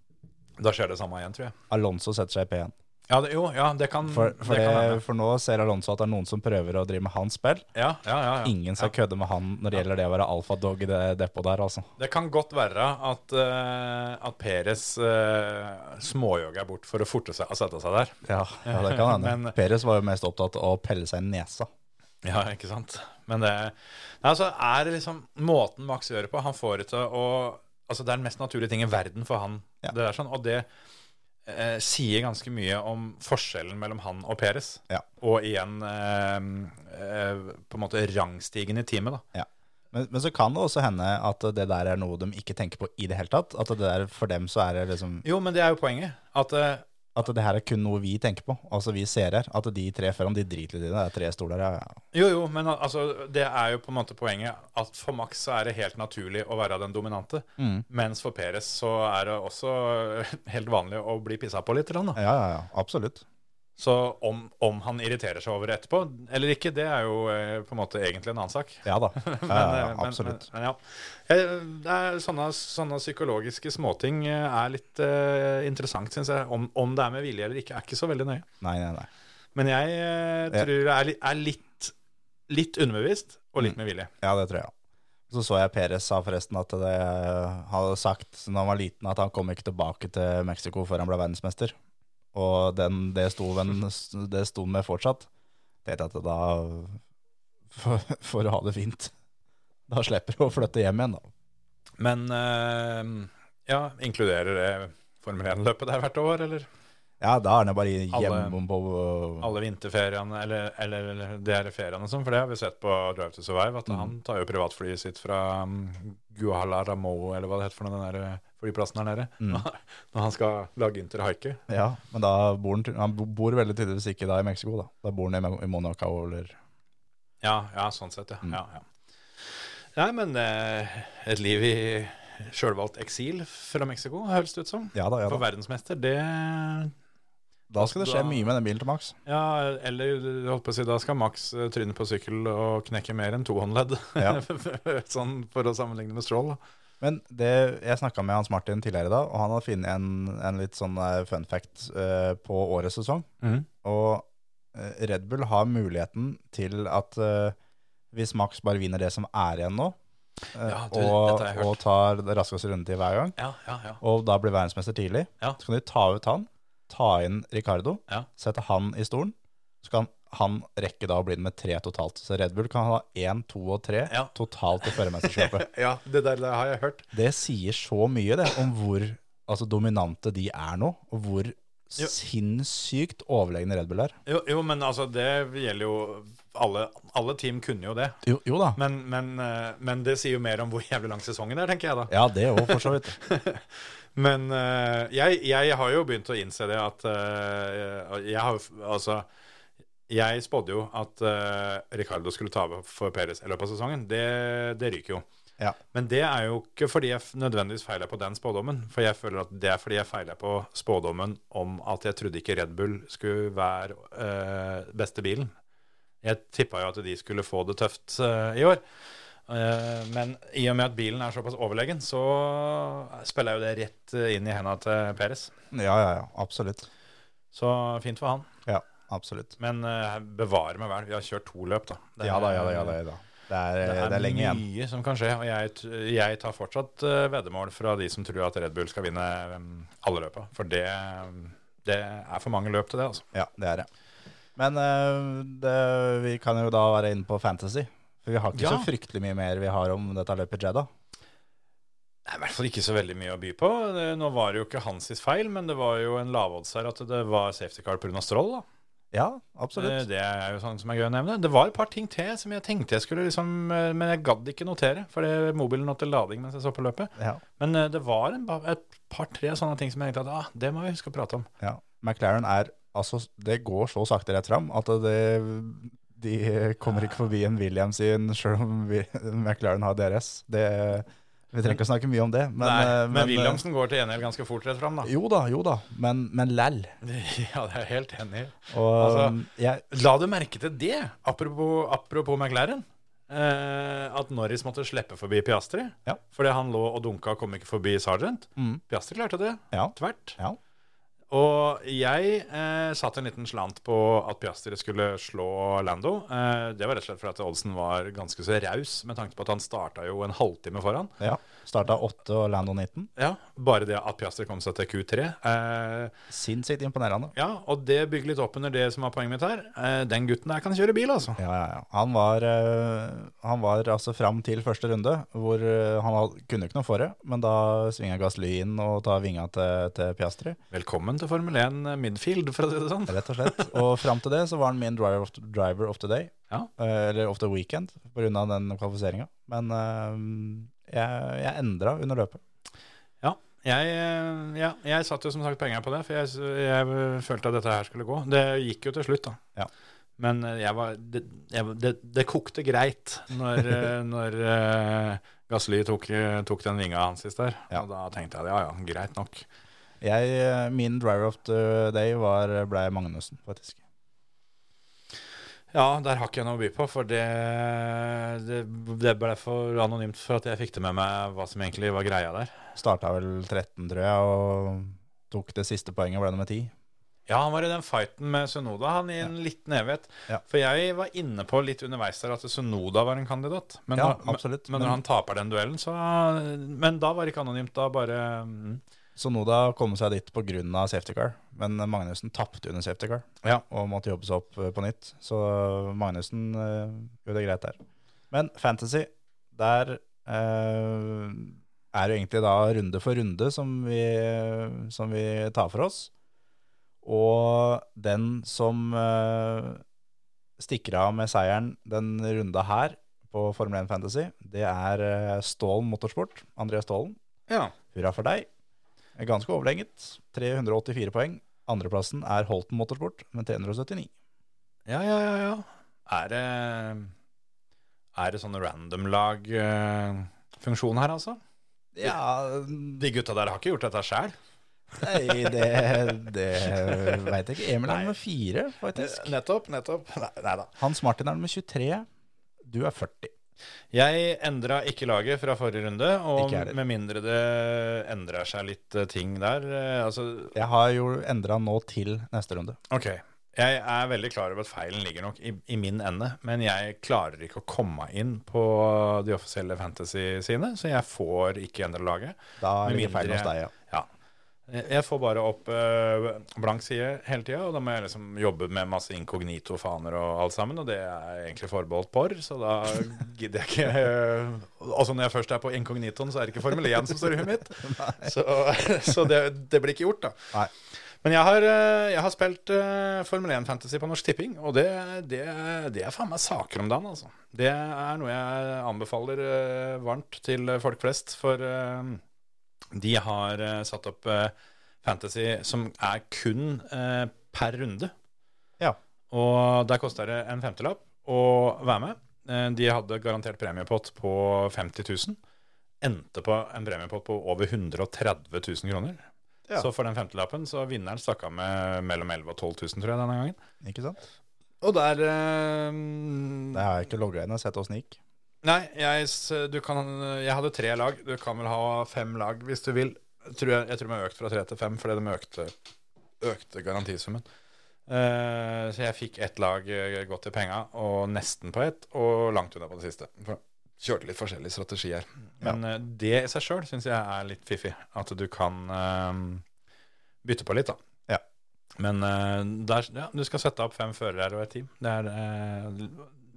[SPEAKER 2] da skjer det samme igjen, tror jeg.
[SPEAKER 3] Alonso setter seg i P1.
[SPEAKER 2] Ja, det, jo, ja, det kan,
[SPEAKER 3] For,
[SPEAKER 2] Mm,
[SPEAKER 3] for,
[SPEAKER 2] det kan
[SPEAKER 3] det,
[SPEAKER 2] hende.
[SPEAKER 3] for nå ser Alonso at det er noen som prøver å drive med hans spill.
[SPEAKER 2] Ja, ja, ja, ja.
[SPEAKER 3] Ingen skal kødde med han når det gjelder det å være alfadog i det depotet der, altså.
[SPEAKER 2] Det kan godt være at, eh, at Peres uh, småjogger bort for å forte seg å sette seg der.
[SPEAKER 3] Ja, det kan hende.
[SPEAKER 2] Men-
[SPEAKER 3] Perez var jo mest opptatt av å pelle seg i nesa.
[SPEAKER 2] Ja, ikke sant. Men det Nei, altså, er det liksom måten Max gjør det på Han får det til å Altså, det er den mest naturlige ting i verden for han.
[SPEAKER 3] Ja.
[SPEAKER 2] Det er sånn, og det eh, sier ganske mye om forskjellen mellom han og Peres.
[SPEAKER 3] Ja.
[SPEAKER 2] Og igjen eh, eh, på en måte rangstigen i teamet, da.
[SPEAKER 3] Ja. Men, men så kan det også hende at det der er noe de ikke tenker på i det hele tatt. At det der for dem så er det liksom
[SPEAKER 2] Jo, men det er jo poenget. At eh,
[SPEAKER 3] At det her er kun noe vi tenker på, altså vi ser her. At de tre foran, de driter litt i det. Det er tre stoler, ja. ja.
[SPEAKER 2] Jo, jo, men al- altså, det er jo på en måte poenget at for Max så er det helt naturlig å være den dominante, mens for Peres så er det også helt vanlig å bli pissa på litt. grann, Da.
[SPEAKER 3] Ja, ja, ja. Absolutt.
[SPEAKER 2] Så om, om han irriterer seg over det etterpå eller ikke, det er jo eh, på en måte egentlig en annen sak.
[SPEAKER 3] Ja da. Ja,
[SPEAKER 2] Men,
[SPEAKER 3] ja, ja,
[SPEAKER 2] eh, men-
[SPEAKER 3] absolutt.
[SPEAKER 2] Men, men, ja. Eh, Det er sånne, sånne psykologiske småting eh, er litt eh, interessant, syns jeg. Om, om det er med vilje eller ikke, er ikke så veldig nøye.
[SPEAKER 3] Nei, nei, nei.
[SPEAKER 2] Men jeg eh,
[SPEAKER 3] Ja.
[SPEAKER 2] tror det er, li- er litt, litt underbevisst og
[SPEAKER 3] Mm.
[SPEAKER 2] litt med vilje.
[SPEAKER 3] Ja, det tror jeg. Så så jeg Perez sa forresten at det hadde sagt da han var liten at han kom ikke tilbake til Mexico før han ble verdensmester. Og den, det sto han det sto han med fortsatt. Tenkte at da for, for å ha det fint. Da slipper du å flytte hjem igjen, da.
[SPEAKER 2] Men eh, ja, inkluderer det Formel 1-løpet der hvert år, eller
[SPEAKER 3] Ja, da er han jo bare
[SPEAKER 2] Alle-
[SPEAKER 3] hjemme på
[SPEAKER 2] alle vinterferiene, eller, eller, eller de her feriene og sånn, for det har vi sett på Drive to Survive,
[SPEAKER 3] Mm.
[SPEAKER 2] at han tar jo privatflyet sitt fra um, Guahalaramo, eller hva det heter for noe, den der eh, flyplassen der nede, når han skal lage interhaike.
[SPEAKER 3] Mm. Ja, men da bor han, han bor veldig tydeligvis ikke da i Mexico, da. Da bor han i Mo- i Monaco eller
[SPEAKER 2] Ja, ja, sånn sett, ja.
[SPEAKER 3] Mm.
[SPEAKER 2] ja, ja. Nei, men eh, et liv i sjølvalgt eksil fra Mexico, høres det ut som.
[SPEAKER 3] Ja da, ja
[SPEAKER 2] For
[SPEAKER 3] da.
[SPEAKER 2] verdensmester, det,
[SPEAKER 3] Da skal det skje mye med den bilen til Max.
[SPEAKER 2] Ja, eller jeg holdt på å si, da skal Max eh, tryne på sykkel og knekke mer enn tohåndledd.
[SPEAKER 3] Ja.
[SPEAKER 2] sånn for å sammenligne med Stroll. da.
[SPEAKER 3] Men det, jeg snakka med Hans Martin tidligere i dag, og han hadde funnet en, en litt sånn eh, fun fact eh, på årets sesong. Og eh, Red Bull har muligheten til at eh, hvis Max bare vinner det som er igjen nå, eh,
[SPEAKER 2] Ja, du,
[SPEAKER 3] og,
[SPEAKER 2] dette har jeg hørt.
[SPEAKER 3] og tar det raskeste rundetid hver gang,
[SPEAKER 2] Ja, ja, ja.
[SPEAKER 3] og da blir verdensmester tidlig,
[SPEAKER 2] Ja.
[SPEAKER 3] så kan de ta ut han, ta inn Ricardo,
[SPEAKER 2] Ja.
[SPEAKER 3] sette han i stolen, så kan han rekke da å bli med tre totalt. Så Red Bull kan ha én, to og tre
[SPEAKER 2] Ja.
[SPEAKER 3] totalt i førermesterskapet.
[SPEAKER 2] Ja, det der det har jeg hørt.
[SPEAKER 3] Det sier så mye det, om hvor altså, dominante de er nå, og hvor sinnssykt overlegne Red Bull er.
[SPEAKER 2] Jo, jo men altså, det gjelder jo Alle, alle team kunne jo det.
[SPEAKER 3] Jo, jo da.
[SPEAKER 2] Men, men, eh, men det sier jo mer om hvor jævlig lang sesongen er, tenker jeg da.
[SPEAKER 3] Ja, det òg, for så vidt.
[SPEAKER 2] Men eh, jeg, jeg har jo begynt å innse det at eh, Jeg har jo f- Altså Jeg spådde jo at eh, Ricardo skulle ta over for Perez i løpet av sesongen. Det, det ryker jo.
[SPEAKER 3] Ja.
[SPEAKER 2] Men det er jo ikke fordi jeg f- nødvendigvis feiler på den spådommen. For jeg føler at det er fordi jeg feiler på spådommen om at jeg trodde ikke Red Bull skulle være eh, beste bilen. Jeg tippa jo at de skulle få det tøft eh, i år. Eh, men i og med at bilen er såpass overlegen, så spiller jo det rett eh, inn i henda til Peres.
[SPEAKER 3] Ja, ja, ja. Absolutt.
[SPEAKER 2] Så fint for han.
[SPEAKER 3] Ja, absolutt.
[SPEAKER 2] Men eh, bevare meg vel. Vi har kjørt to løp, da. Det
[SPEAKER 3] Ja da, ja da,
[SPEAKER 2] er-
[SPEAKER 3] ja da. Ja, da. Det, er, det, er lenge igjen.
[SPEAKER 2] mye som kan skje, og jeg, t- jeg tar fortsatt eh, veddemål fra de som tror at Red Bull skal vinne mm, alle løpa. For det, ehm, det er for mange løp til det, altså.
[SPEAKER 3] Ja, det er det. Men eh, det, vi kan jo da være inne på fantasy. For vi har ikke
[SPEAKER 2] Ja.
[SPEAKER 3] så fryktelig mye mer vi har om dette løpet i Jedda.
[SPEAKER 2] Det er i hvert fall ikke så veldig mye å by på. Det- Nå var det jo ikke hans sitt feil, men det var jo en lavodds her at det var safety car pga. strål. da.
[SPEAKER 3] Ja,
[SPEAKER 2] Det,
[SPEAKER 3] absolutt.
[SPEAKER 2] det er jo sånn som er gøy å nevne. Det var et par ting til som jeg tenkte jeg skulle liksom eh, Men jeg gadd ikke notere, for det- mobilen nådde lading mens jeg så på løpet.
[SPEAKER 3] Ja,
[SPEAKER 2] Men eh, det var en, ba- et par-tre sånne ting som jeg tenkte at ah, det må vi huske å prate om.
[SPEAKER 3] ja. McLaren er Altså, det går så sakte rett fram at det, de kommer ikke forbi en Williams sin, sjøl om vi, McLaren har DRS. Det, vi trenger ikke å snakke mye om det. Men,
[SPEAKER 2] Nei,
[SPEAKER 3] eh,
[SPEAKER 2] men, Williamsen går til gjengjeld ganske fort rett fram, da.
[SPEAKER 3] Jo da, jo da. Men, men læll.
[SPEAKER 2] Ja, det er jeg helt enig i.
[SPEAKER 3] Og
[SPEAKER 2] Altså-
[SPEAKER 3] jeg
[SPEAKER 2] La du merke til det, apropos, apropos McLaren, eh, at Norris måtte slippe forbi Piastri?
[SPEAKER 3] Ja.
[SPEAKER 2] Fordi han lå og dunka og kom ikke forbi Sergeant?
[SPEAKER 3] Mm.
[SPEAKER 2] Piastri klarte det,
[SPEAKER 3] Ja.
[SPEAKER 2] tvert.
[SPEAKER 3] ja.
[SPEAKER 2] Og jeg eh, satt en liten slant på at Piastri skulle slå Lando. Eh, det var rett og slett fordi at Oddsen var ganske så raus, med tanke på at han starta jo en halvtime foran.
[SPEAKER 3] ja. Starta 8 og Lando 19.
[SPEAKER 2] Ja, Bare det at Piastri kom seg til Q3. Eh,
[SPEAKER 3] Sinnssykt imponerende.
[SPEAKER 2] Ja, og det bygger litt opp under det som var poenget mitt her. Eh, Den gutten der kan kjøre bil, altså.
[SPEAKER 3] Ja, ja, ja. Han var, eh, han var altså fram til første runde, hvor eh, han had, kunne ikke noe for det, men da svinga Gasly inn og tar vinga til, til Piastri,
[SPEAKER 2] Velkommen til Formel 1 Midfield, for å si det sånn.
[SPEAKER 3] rett og slett. Og fram til det så var han min driver of, driver of the day,
[SPEAKER 2] Ja.
[SPEAKER 3] eh, eller of the weekend, pga. den kvalifiseringa. Men eh, jeg, jeg endra under løpet.
[SPEAKER 2] Ja, jeg, eh, ja, jeg satt jo som sagt penger på det, for jeg, s- jeg følte at dette her skulle gå. Det gikk jo til slutt, da.
[SPEAKER 3] Ja.
[SPEAKER 2] Men eh, jeg var, det, jeg, var- det, det kokte greit når, eh, når eh, Gasly tok, eh, tok den vinga hans sist der.
[SPEAKER 3] Ja.
[SPEAKER 2] Og da tenkte jeg ja ja, greit nok.
[SPEAKER 3] Jeg, eh, min driver of the day var, ble Magnussen, faktisk.
[SPEAKER 2] Ja, der har ikke jeg noe å by på, for det, det, det ble for anonymt for at jeg fikk det med meg hva som egentlig var greia der.
[SPEAKER 3] Starta vel 13, tror jeg, og tok det siste poenget, ble nummer 10.
[SPEAKER 2] Ja, han var i den fighten med Sunoda, han i en liten evighet.
[SPEAKER 3] Ja.
[SPEAKER 2] For jeg var inne på litt underveis der at Sunoda var en kandidat. Men,
[SPEAKER 3] Ja,
[SPEAKER 2] når,
[SPEAKER 3] absolutt,
[SPEAKER 2] men,
[SPEAKER 3] men-
[SPEAKER 2] når han taper den duellen, så Men da var det ikke anonymt, da bare mm.
[SPEAKER 3] Så Noda kom seg dit pga. safety car, men Magnussen tapte under safety car
[SPEAKER 2] Ja.
[SPEAKER 3] og måtte jobbe seg opp eh, på nytt. Så Magnussen eh, gjorde det greit der. Men Fantasy, der eh, er det jo egentlig da runde for runde som vi, eh, som vi tar for oss. Og den som eh, stikker av med seieren den runda her på Formel 1 Fantasy, det er eh, Stålen Motorsport, Andreas Stålen.
[SPEAKER 2] ja.
[SPEAKER 3] Hurra for deg. Er Ganske overlenget. 384 poeng. Andreplassen er Holten Motorsport med 379.
[SPEAKER 2] Ja, ja, ja, ja. Er det Er det sånn random-lag-funksjon eh, her, altså?
[SPEAKER 3] Ja,
[SPEAKER 2] De gutta der har ikke gjort dette sjæl.
[SPEAKER 3] Nei, det, det veit jeg ikke. Emil er nummer fire, faktisk.
[SPEAKER 2] Nettopp, nettopp. Nei, nei da.
[SPEAKER 3] Hans Martin er nummer 23. Du er 40.
[SPEAKER 2] Jeg endra ikke laget fra forrige runde, og
[SPEAKER 3] Ikke jeg heller.
[SPEAKER 2] med mindre det endrer seg litt eh, ting der eh, Altså,
[SPEAKER 3] Jeg har jo endra nå til neste runde.
[SPEAKER 2] OK. Jeg er veldig klar over at feilen ligger nok i, i min ende, men jeg klarer ikke å komme meg inn på de offisielle fantasy-sidene, så jeg får ikke endra laget.
[SPEAKER 3] Da
[SPEAKER 2] Med
[SPEAKER 3] ligger feilen hos
[SPEAKER 2] mindre-
[SPEAKER 3] deg, ja.
[SPEAKER 2] Ja. Jeg jeg får bare opp eh, blank side hele tida, og da må jeg liksom jobbe med masse inkognito-faner og alt sammen, og det er egentlig forbeholdt porr, så da gidder jeg ikke eh, Også når jeg først er på inkognitoen, så er det ikke Formel 1 som står i huet mitt. Så, så det, det blir ikke gjort, da.
[SPEAKER 3] Nei.
[SPEAKER 2] Men jeg har, eh, jeg har spilt eh, Formel 1-fantasy på Norsk Tipping, og det, det, det er faen meg saker om dagen, altså. Det er noe jeg anbefaler eh, varmt til folk flest, for eh, de har eh, satt opp eh, fantasy som er kun eh, per runde.
[SPEAKER 3] Ja.
[SPEAKER 2] Og der koster det en femtelapp å være med. Eh, de hadde garantert premiepott på 50 000. Endte på en premiepott på over 130 000 kroner.
[SPEAKER 3] Ja.
[SPEAKER 2] Så for den femtelappen så vinneren stakk av med mellom 11 000 og 12 000, tror jeg, denne gangen.
[SPEAKER 3] Ikke sant?
[SPEAKER 2] Og der eh,
[SPEAKER 3] Det har jeg ikke logga inn og sett åssen det gikk.
[SPEAKER 2] Nei, jeg, s- du kan, jeg hadde tre lag. Du kan vel ha fem lag hvis du vil. Jeg Tror jeg, jeg tror de har økt fra tre til fem fordi de økte, økte garantisummen. Eh, så jeg fikk ett lag eh, godt i penga, og nesten på ett, og langt unna på det siste. For kjørte litt forskjellig strategi her. Men eh, det i seg sjøl syns jeg er litt fiffig. At du kan eh, bytte på litt, da.
[SPEAKER 3] Ja.
[SPEAKER 2] Men eh, der, ja, du skal sette opp fem førere og et team. Det er eh,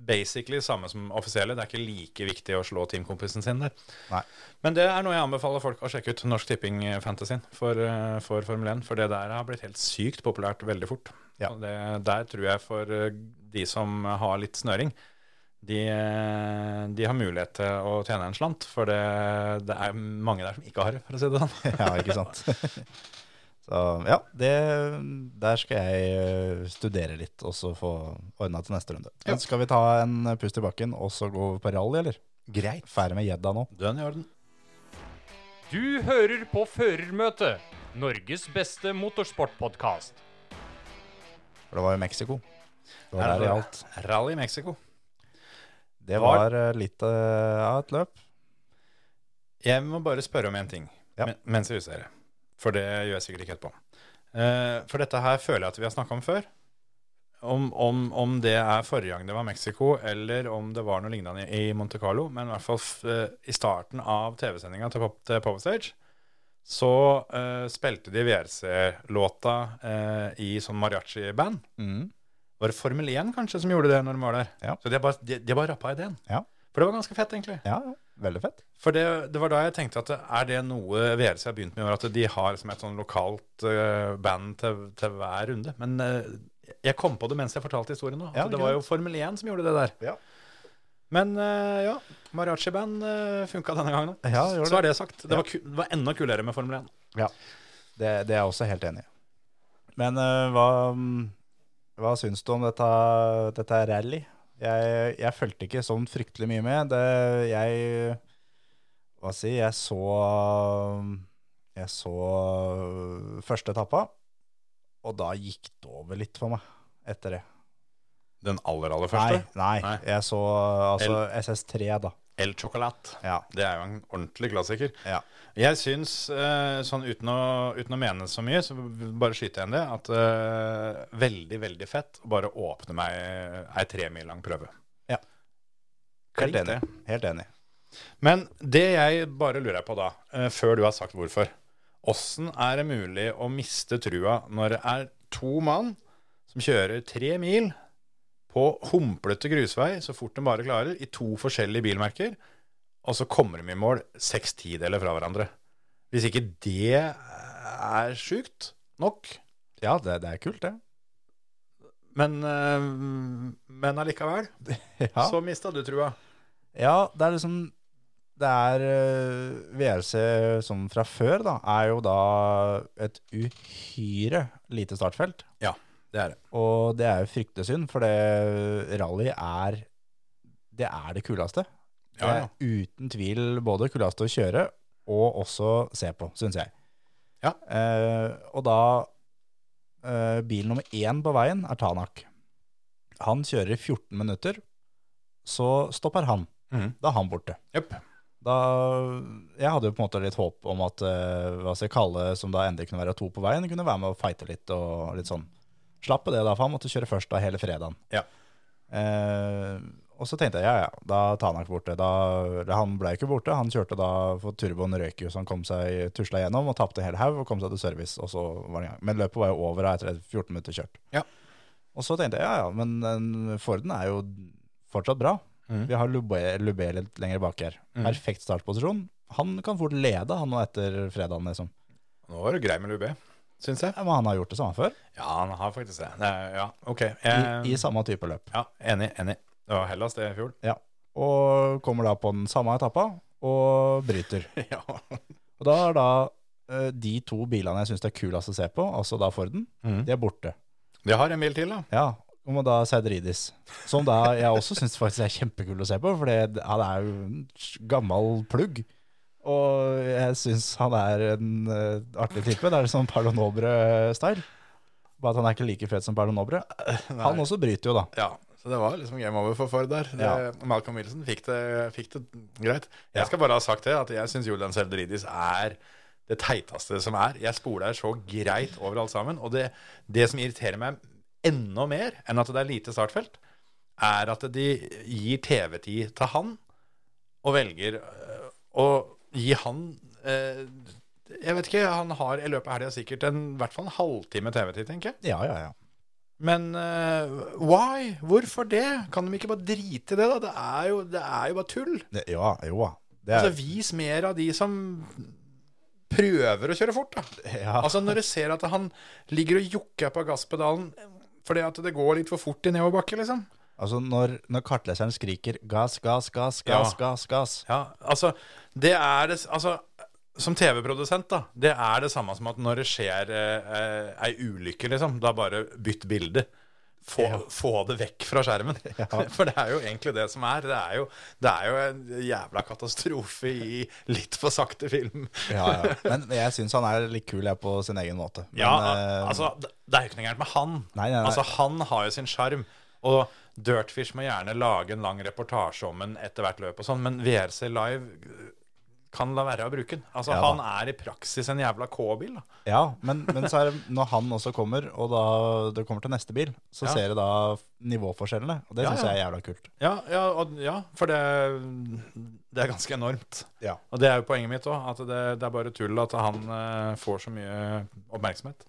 [SPEAKER 2] basically samme som offisielle. Det er ikke like viktig å slå teamkompisen sin der.
[SPEAKER 3] Nei.
[SPEAKER 2] Men det er noe jeg anbefaler folk å sjekke ut. Norsk Tipping Fantasy for, eh, for Formel 1. For det der har blitt helt sykt populært veldig fort.
[SPEAKER 3] Ja.
[SPEAKER 2] Og det, der tror jeg for eh, de som har litt snøring, de, eh, de har mulighet til å tjene en slant. For det, det er mange der som ikke har det, for å si det sånn.
[SPEAKER 3] Ja, ikke sant? Så ja, det, der skal jeg eh, studere litt, og så få ordna til neste runde. Men skal vi ta en pust i bakken, og så gå over på rally, eller? Greit. Ferdig med gjedda nå.
[SPEAKER 2] Den i orden.
[SPEAKER 4] Du hører på Førermøtet, Norges beste motorsportpodkast.
[SPEAKER 3] For det var jo Mexico. Det
[SPEAKER 2] Er
[SPEAKER 3] var der
[SPEAKER 2] det
[SPEAKER 3] i
[SPEAKER 2] bra?
[SPEAKER 3] alt.
[SPEAKER 2] Rally Mexico.
[SPEAKER 3] Det
[SPEAKER 2] Var-
[SPEAKER 3] var eh, litt eh, av et løp.
[SPEAKER 2] Jeg må bare spørre om en ting
[SPEAKER 3] Ja.
[SPEAKER 2] men, mens jeg justerer. For det gjør jeg sikkert ikke etterpå. Eh, for dette her føler jeg at vi har snakka om før. Om, om, om det er forrige gang det var Mexico, eller om det var noe lignende i Monte Carlo. Men i hvert fall f i starten av TV-sendinga til, Pop- til Powerstage så eh, spilte de WRC-låta eh, i sånn mariachi-band. Var det Formel 1 kanskje som gjorde det når de var der?
[SPEAKER 3] Ja.
[SPEAKER 2] Så de har bare, de, de har bare rappa ideen.
[SPEAKER 3] Ja.
[SPEAKER 2] For det var ganske fett, egentlig.
[SPEAKER 3] Ja, ja. veldig fett.
[SPEAKER 2] For det, det var da jeg tenkte at er det noe VRC har begynt med i år, at de har liksom et sånn lokalt eh, band til, til hver runde. Men eh, jeg kom på det mens jeg fortalte historien nå. At
[SPEAKER 3] Ja,
[SPEAKER 2] det var jo Formel 1 som gjorde det der.
[SPEAKER 3] Ja.
[SPEAKER 2] Men eh, ja, mariachi-band uh, funka denne gangen òg.
[SPEAKER 3] Ja, gjorde det.
[SPEAKER 2] Så er det sagt. Det, var, ku, det var enda kulere med Formel 1.
[SPEAKER 3] Det, det er jeg også helt enig i. Men eh, hva, mm, hva syns du om dette, dette rally? Jeg, jeg fulgte ikke sånn fryktelig mye med. Det, jeg Hva si, jeg så Jeg så eh, første etappa, og da gikk det over litt for meg etter det.
[SPEAKER 2] Den aller, aller første.
[SPEAKER 3] Nei, nei,
[SPEAKER 2] Nei.
[SPEAKER 3] jeg så altså SS3, da.
[SPEAKER 2] El Chocolat.
[SPEAKER 3] Ja.
[SPEAKER 2] Det er jo en ordentlig klassiker.
[SPEAKER 3] Ja.
[SPEAKER 2] Jeg syns, eh, sånn uten å, uten å mene så mye, så bare skyter jeg inn det, at eh, veldig, veldig fett å bare åpne meg ei tre mil lang prøve.
[SPEAKER 3] Ja.
[SPEAKER 2] Klink
[SPEAKER 3] Helt
[SPEAKER 2] det.
[SPEAKER 3] enig. Helt enig.
[SPEAKER 2] Men det jeg bare lurer på da, eh, før du har sagt hvorfor Åssen er det mulig å miste trua når det er to mann som kjører tre mil på humplete grusvei så fort de bare klarer, i to forskjellige bilmerker, og så kommer de i mål seks tideler fra hverandre? Hvis ikke det er sjukt nok,
[SPEAKER 3] Ja, det, det er kult, det.
[SPEAKER 2] men, eh, men allikevel,
[SPEAKER 3] Ja.
[SPEAKER 2] så mista du trua.
[SPEAKER 3] Ja, det er liksom Det er eh, VRC som fra før, da, er jo da et uhyre lite startfelt.
[SPEAKER 2] Ja, det er det.
[SPEAKER 3] Og det er jo fryktesynd, for det rally er Det er det kuleste. Det
[SPEAKER 2] Ja,
[SPEAKER 3] er uten tvil både kuleste å kjøre og også se på, syns jeg.
[SPEAKER 2] ja. Ja.
[SPEAKER 3] Eh, og da eh, bil nummer én på veien er Tanak. Han kjører i 14 minutter, så stopper han.
[SPEAKER 2] Mhm.
[SPEAKER 3] Da er han borte.
[SPEAKER 2] Jepp.
[SPEAKER 3] Da, jeg hadde jo på en måte litt håp om at eh, hva skal jeg kalle det, som da endelig kunne være to på veien, kunne være med og fighte litt og litt sånn. Slapp det da, for han måtte kjøre først da hele fredagen.
[SPEAKER 2] Ja.
[SPEAKER 3] Eh, og så tenkte jeg, ja ja, da er Tanak borte. Da, eller han ble jo ikke borte, han kjørte da, for turboen røyk jo, så han kom seg tusla gjennom og tapte hele haug og kom seg til service, og så var det i gang. Men løpet var jo over da, etter 14 minutter kjørt.
[SPEAKER 2] Ja.
[SPEAKER 3] Og så tenkte jeg, ja ja, men den Forden er jo fortsatt bra.
[SPEAKER 2] Mhm.
[SPEAKER 3] Vi har Lubé, Lubé litt lenger bak her.
[SPEAKER 2] Mm.
[SPEAKER 3] Perfekt startposisjon. Han kan fort lede han nå etter fredagen, liksom.
[SPEAKER 2] Nå var du grei med Lubé, syns jeg.
[SPEAKER 3] Ja, Men han har gjort det samme før,
[SPEAKER 2] Ja, han har faktisk det. det er, ja, OK. eh,
[SPEAKER 3] i,
[SPEAKER 2] Jeg,
[SPEAKER 3] i samme type løp.
[SPEAKER 2] ja, enig, enig. Det var Hellas det i fjor.
[SPEAKER 3] Ja. Og kommer da på den samme etappa, og bryter.
[SPEAKER 2] ja.
[SPEAKER 3] Og da er da eh, de to bilene jeg syns det er kulest å se på, altså da Forden,
[SPEAKER 2] Mhm.
[SPEAKER 3] de er borte.
[SPEAKER 2] De har en bil til, da.
[SPEAKER 3] Ja, og da Seideridis. Som da jeg også syns faktisk er kjempekul å se på, for det- han er jo en gammel plugg. Og jeg syns han er en eh, artig type. Det er sånn Perlo Nobre-style. Bare at han er ikke like fet som Perlo Nobre. Han også bryter jo, da.
[SPEAKER 2] Ja, så det var liksom game over for Ford der. Det,
[SPEAKER 3] Ja.
[SPEAKER 2] Malcolm Wilson fikk det, fikk det greit.
[SPEAKER 3] Ja.
[SPEAKER 2] Jeg skal bare ha sagt det, at jeg syns Julian Selvridis er det teiteste som er. Jeg spoler så greit over alt sammen. Og det, det som irriterer meg enda mer enn at det er lite startfelt, er at de gir TV-tid til han, og velger øh, å gi han øh, Jeg vet ikke, han har i løpet av helga sikkert en, i hvert fall en halvtime TV-tid, tenker jeg.
[SPEAKER 3] Ja, ja, ja.
[SPEAKER 2] Men eh, why? Hvorfor det? Kan de ikke bare drite i det, da? Det er jo, det er jo bare tull.
[SPEAKER 3] Det, ja, jo da. Det er,
[SPEAKER 2] Altså, Vis mer av de som prøver å kjøre fort, da.
[SPEAKER 3] ja.
[SPEAKER 2] Altså, når du ser at han ligger og jokker på gasspedalen fordi at det går litt for fort i nedoverbakke, liksom.
[SPEAKER 3] altså når, når kartleseren skriker 'gass, gass, gass, gass,
[SPEAKER 2] Ja.
[SPEAKER 3] gass', gass
[SPEAKER 2] Ja, altså, det er det Altså, som TV-produsent, da, det er det samme som at når det skjer eh, eh, ei ulykke, liksom, da bare bytt bilde. Få, få det vekk fra skjermen. For det er jo egentlig det som er. Det er jo, det er jo en jævla katastrofe i litt for sakte film.
[SPEAKER 3] Ja, ja. Men jeg syns han er litt kul jeg, på sin egen måte. Men,
[SPEAKER 2] Ja,
[SPEAKER 3] eh,
[SPEAKER 2] altså, det det er jo ikke noe gærent med han.
[SPEAKER 3] Nei, nei, nei.
[SPEAKER 2] Altså, Han har jo sin sjarm. Og Dirtfish må gjerne lage en lang reportasje om en etter hvert løp og sånn, men VRC Live øh, kan la være å bruke den. Altså,
[SPEAKER 3] Ja, da.
[SPEAKER 2] han er i praksis en jævla K-bil, da.
[SPEAKER 3] Ja, men, men så er det, når han også kommer, og da det kommer til neste bil, så
[SPEAKER 2] Ja.
[SPEAKER 3] ser du da nivåforskjellene. Og det
[SPEAKER 2] Ja,
[SPEAKER 3] syns
[SPEAKER 2] ja.
[SPEAKER 3] jeg er jævla kult.
[SPEAKER 2] Ja, ja, og, ja for det, det er ganske enormt.
[SPEAKER 3] Ja.
[SPEAKER 2] Og det er jo poenget mitt òg, at det, det er bare tull at han eh, får så mye oppmerksomhet.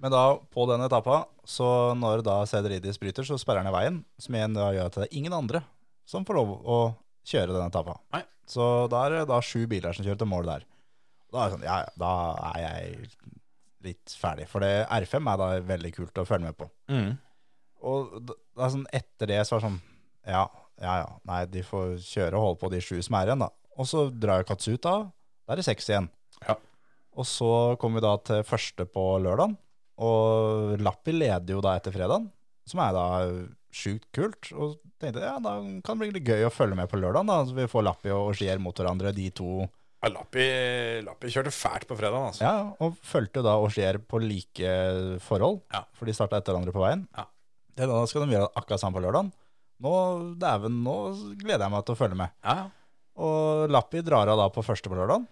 [SPEAKER 3] Men da, på den etappa, så når da Cedridis bryter, så sperrer han i veien. Som igjen da gjør at det er ingen andre som får lov å kjøre den etappa.
[SPEAKER 2] Nei.
[SPEAKER 3] Så da er det da sju biler som kjører til mål der. Da er, det sånn, ja, ja, da er jeg litt ferdig. For det R5 er da veldig kult å følge med på. Og da, da, sånn, etter det så var det sånn Ja, ja, ja. Nei, de får kjøre og holde på de sju som er igjen, da. Og så drar jo Katsuta av. Da er det seks igjen.
[SPEAKER 2] Ja.
[SPEAKER 3] Og så kommer vi da til første på lørdagen. Og Lappi leder jo da etter fredagen, som er da sjukt kult. Og tenkte ja, da kan det bli litt gøy å følge med på lørdagen, da. Så vi får Lappi og Ogier mot hverandre, de to.
[SPEAKER 2] Ja, Lappi, Lappi kjørte fælt på fredag, altså.
[SPEAKER 3] Ja, og fulgte jo da Ogier på like forhold,
[SPEAKER 2] Ja.
[SPEAKER 3] for de starta etter hverandre på veien.
[SPEAKER 2] Ja.
[SPEAKER 3] Det er da skal de gjøre akkurat samme på lørdagen. Nå, dæven, nå gleder jeg meg til å følge med.
[SPEAKER 2] Ja.
[SPEAKER 3] Og Lappi drar av da på første på lørdagen,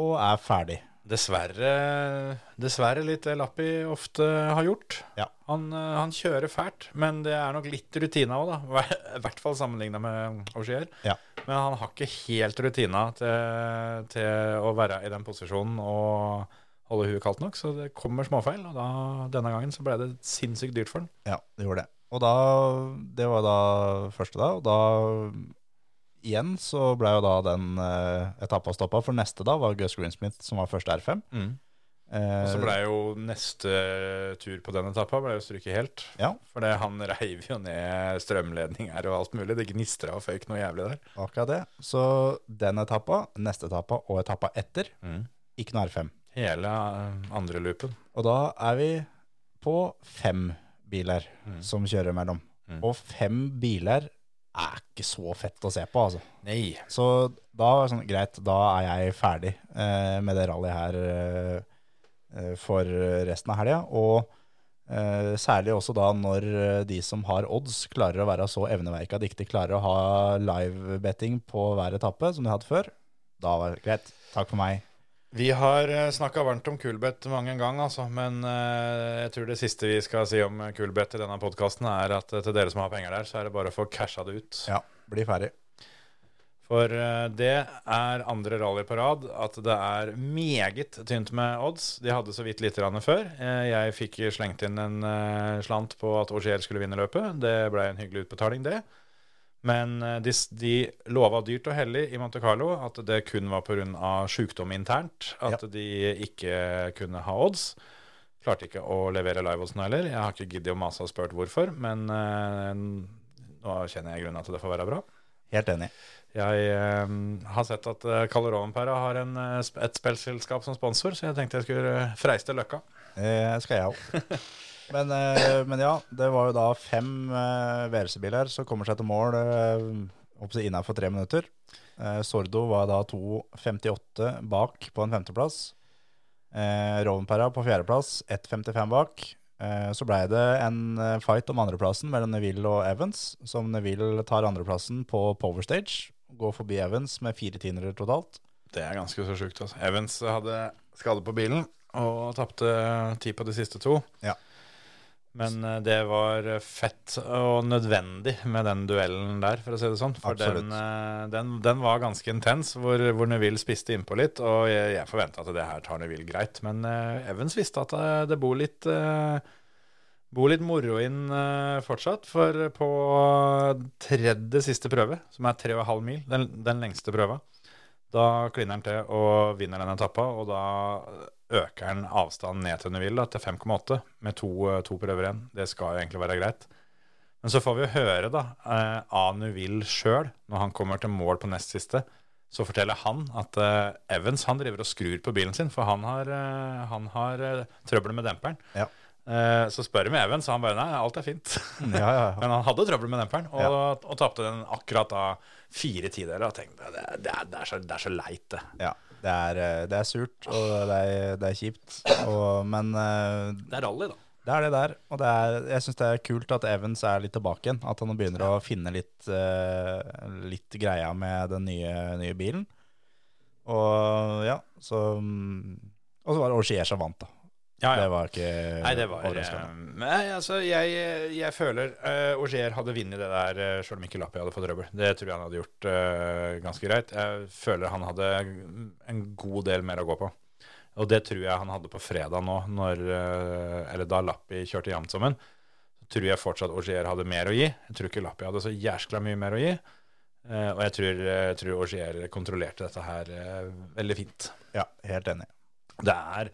[SPEAKER 3] og er ferdig.
[SPEAKER 2] Dessverre, dessverre litt det Lappi ofte har gjort.
[SPEAKER 3] Ja.
[SPEAKER 2] Han, eh, han kjører fælt, men det er nok litt rutina òg, da. Hver- I hvert fall sammenligna med Augier.
[SPEAKER 3] Ja.
[SPEAKER 2] Men han har ikke helt rutina til, til å være i den posisjonen og holde huet kaldt nok, så det kommer småfeil. Og da, denne gangen så ble det sinnssykt dyrt for han.
[SPEAKER 3] Ja, det gjorde det. Og da, det var da første da, og da igjen så ble jo da den eh, etappa stoppa, for neste da var Gus Greensmith som var første R5. Eh,
[SPEAKER 2] Og så ble jo neste tur på den etappa ble jo stryket helt.
[SPEAKER 3] Ja.
[SPEAKER 2] For det- han reiv jo ned strømledninger og alt mulig. Det gnistra og føyk noe jævlig der.
[SPEAKER 3] akkurat det. Så den etappa, neste etappa og etappa etter, ikke noe R5.
[SPEAKER 2] Hele eh, andre loopen.
[SPEAKER 3] Og da er vi på fem biler som kjører mellom. Og fem biler er ikke så fett å se på, altså.
[SPEAKER 2] Nei.
[SPEAKER 3] Så da var det sånn, greit, da er jeg ferdig eh, med det rallyet her. Eh, eh, for resten av helga. Og eh, særlig også da når eh, de som har odds, klarer å være så evneverka at de ikke klarer å ha livebetting på hver etappe som de hadde før. Da var det greit. Takk for meg.
[SPEAKER 2] Vi har snakka varmt om Kulbeth mange en gang, altså, men eh, jeg tror det siste vi skal si om eh, Kulbeth i denne podkasten, er at eh, til dere som har penger der, så er det bare å få casha det ut.
[SPEAKER 3] Ja, bli ferdig.
[SPEAKER 2] For eh, det er andre rally på rad at det er meget tynt med odds. De hadde så vidt lite grann før. Eh, Jeg fikk slengt inn en eh, slant på at Augier skulle vinne løpet. Det ble en hyggelig utbetaling, det. Men eh, de, s- de lova dyrt og hellig i Monte Carlo at det kun var pga. sjukdom internt at de ikke kunne ha odds. Klarte ikke å levere live-oddsen heller. Jeg har ikke giddet å mase og spurt hvorfor, men eh, nå kjenner jeg grunnen til at det får være bra.
[SPEAKER 3] Helt enig.
[SPEAKER 2] Jeg eh, har sett at uh, Calerovenpæra har en, eh, sp- et spillselskap som sponsor, så jeg tenkte jeg skulle eh, freiste løkka.
[SPEAKER 3] Det Eh, skal jeg òg. Men, eh, men ja, det var jo da fem eh, VRC-biler som kommer seg til mål eh, innafor tre minutter. Eh, Sordo var da 2,58 bak på en femteplass. Eh, Rovenpera på fjerdeplass, 1,55 bak. Eh, så blei det en eh, fight om andreplassen mellom Neville og Evans, som Neville tar andreplassen på Power Stage. Går forbi Evans med fire tiendere totalt.
[SPEAKER 2] Det er ganske så sjukt. Altså. Evans hadde skade på bilen og tapte ti på de siste to.
[SPEAKER 3] Ja.
[SPEAKER 2] Men eh, det var fett og nødvendig med den duellen der, for å si det sånn. For den, eh, den, den var ganske intens, hvor, hvor Neville spiste innpå litt. Og jeg, jeg forventa at det her tar Neville greit, men eh, Evans visste at eh, det bor litt eh, Bor litt moro inn eh, fortsatt, for på tredje siste prøve, som er tre og en halv mil, den, den lengste prøva, da kliner han til og vinner den etappa, og da øker han avstanden ned til Neville da, til 5,8 med to, eh, to prøver igjen. Det skal jo egentlig være greit. Men så får vi jo høre da, eh, av Neville sjøl, når han kommer til mål på nest siste, så forteller han at eh, Evans han driver og skrur på bilen sin, for han har, eh, han har eh, trøbbel med demperen.
[SPEAKER 3] Ja.
[SPEAKER 2] Eh, så spør vi Evans, og han bare nei, alt er fint.
[SPEAKER 3] Ja, ja, ja.
[SPEAKER 2] Men han hadde trøbbel med demperen, og,
[SPEAKER 3] Ja.
[SPEAKER 2] og tapte den akkurat da fire tideler. Og tenkte det, det, er, det, er så, det er så leit, det.
[SPEAKER 3] Ja, det er, eh, det er surt, og det er, det er kjipt. Og, men eh,
[SPEAKER 2] Det er rally, da.
[SPEAKER 3] det er det der. Og det er, jeg syns det er kult at Evans er litt tilbake igjen. At han begynner å finne litt, eh, litt greia med den nye, nye bilen. Og ja, så mm, Og så var det Orsier som vant, da.
[SPEAKER 2] Ja, ja.
[SPEAKER 3] Det var ikke
[SPEAKER 2] Nei, det var
[SPEAKER 3] overraskende.
[SPEAKER 2] eh, Nei, altså, jeg, jeg føler uh, Auger hadde vunnet det der eh, selv om ikke Lappi hadde fått trøbbel. Det tror jeg han hadde gjort eh, ganske greit. Jeg føler han hadde en god del mer å gå på. Og det tror jeg han hadde på fredag nå, når, eh, eller da Lappi kjørte jevnt som en. Så tror jeg fortsatt Auger hadde mer å gi. Jeg tror ikke Lappi hadde så jæskla mye mer å gi. Eh, og jeg tror, jeg tror Auger kontrollerte dette her eh, veldig fint.
[SPEAKER 3] Ja, helt enig.
[SPEAKER 2] Det er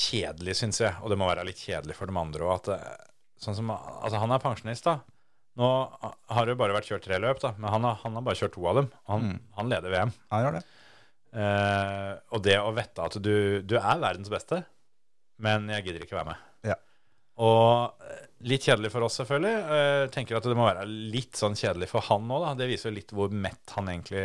[SPEAKER 2] kjedelig, syns jeg, og det må være litt kjedelig for de andre òg, at eh, sånn som, altså, han er pensjonist, da. Nå har det jo bare vært kjørt tre løp, da, men han har, han har bare kjørt to av dem. Han, han leder VM.
[SPEAKER 3] Han gjør det.
[SPEAKER 2] Eh, og det å vite at du, du er verdens beste, men jeg gidder ikke være med.
[SPEAKER 3] Ja.
[SPEAKER 2] Og eh, litt kjedelig for oss, selvfølgelig. Eh, tenker at det må være litt sånn kjedelig for han òg, da. Det viser jo litt hvor mett han egentlig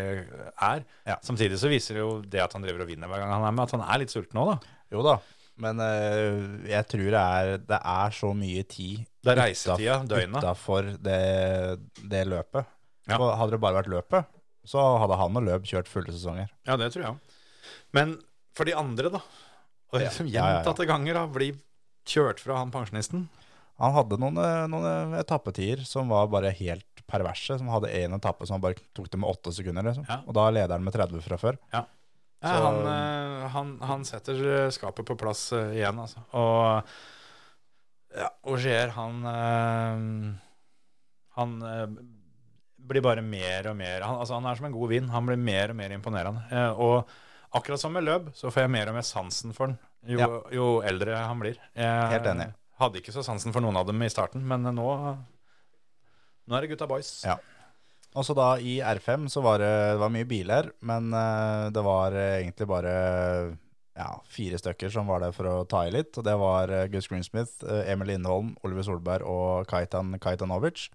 [SPEAKER 2] er.
[SPEAKER 3] Ja.
[SPEAKER 2] Samtidig så viser det jo det at han driver og vinner hver gang han er med, at han er litt sulten òg, da.
[SPEAKER 3] Jo da. Men eh, jeg tror det er, det er så mye tid
[SPEAKER 2] Det er reisetida, døgnet.
[SPEAKER 3] utafor det, det løpet.
[SPEAKER 2] Ja.
[SPEAKER 3] Og hadde det bare vært løpet, så hadde han og løp kjørt fulle sesonger.
[SPEAKER 2] Ja, det tror jeg òg. Men for de andre, da. Og
[SPEAKER 3] Ja.
[SPEAKER 2] liksom
[SPEAKER 3] Ja, ja, ja.
[SPEAKER 2] gjentatte ganger da, blir kjørt fra han pensjonisten.
[SPEAKER 3] Han hadde noen, eh, noen etappetider som var bare helt perverse. Som hadde én etappe som han bare tok det med åtte sekunder. Liksom.
[SPEAKER 2] Ja.
[SPEAKER 3] Og da leder han med 30 fra før.
[SPEAKER 2] Ja,
[SPEAKER 3] Så-
[SPEAKER 2] han, eh, han, han setter eh, skapet på plass eh, igjen, altså. Og ja, Auger, han eh, Han eh, blir bare mer og mer han, altså, han er som en god vin. Han blir mer og mer imponerende. Eh, og akkurat som med Løb, så får jeg mer og mer sansen for han jo,
[SPEAKER 3] Ja.
[SPEAKER 2] jo eldre han blir. Jeg eh,
[SPEAKER 3] Helt enig.
[SPEAKER 2] Hadde ikke så sansen for noen av dem i starten, men eh, nå Nå er det gutta boys.
[SPEAKER 3] Ja. Og så Altså da i R5 så var det, det var mye biler, men eh, det var eh, egentlig bare ja, fire stykker som var der for å ta i litt. Og det var eh, Gus Greensmith, eh, Emil Lindholm, Oliver Solberg og Kaitan Kaitanovic.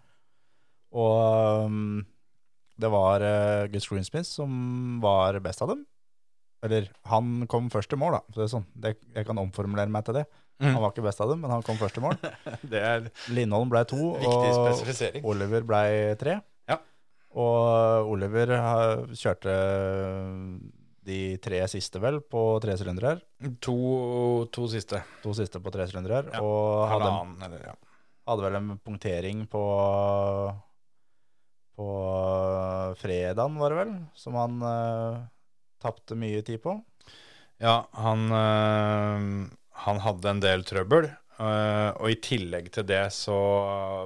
[SPEAKER 3] Og mm, det var eh, Gus Greensmith som var best av dem. Eller han kom først i mål, da. Så det er sånn. det, jeg kan omformulere meg til det. Han var ikke best av dem, men han kom først i mål.
[SPEAKER 2] Det er
[SPEAKER 3] Lindholm ble to,
[SPEAKER 2] viktig
[SPEAKER 3] og
[SPEAKER 2] spesifisering.
[SPEAKER 3] Oliver ble tre.
[SPEAKER 2] Ja.
[SPEAKER 3] Og Oliver eh, kjørte de tre siste, vel, på tre sylindere her.
[SPEAKER 2] To, to siste.
[SPEAKER 3] To siste på tre sylindere her.
[SPEAKER 2] Ja.
[SPEAKER 3] Og hadde,
[SPEAKER 2] Halvannen, eller ja.
[SPEAKER 3] hadde vel en punktering på På fredagen, var det vel, som han uh, tapte mye tid på.
[SPEAKER 2] Ja, han, øh, han hadde en del trøbbel. øh, og i tillegg til det så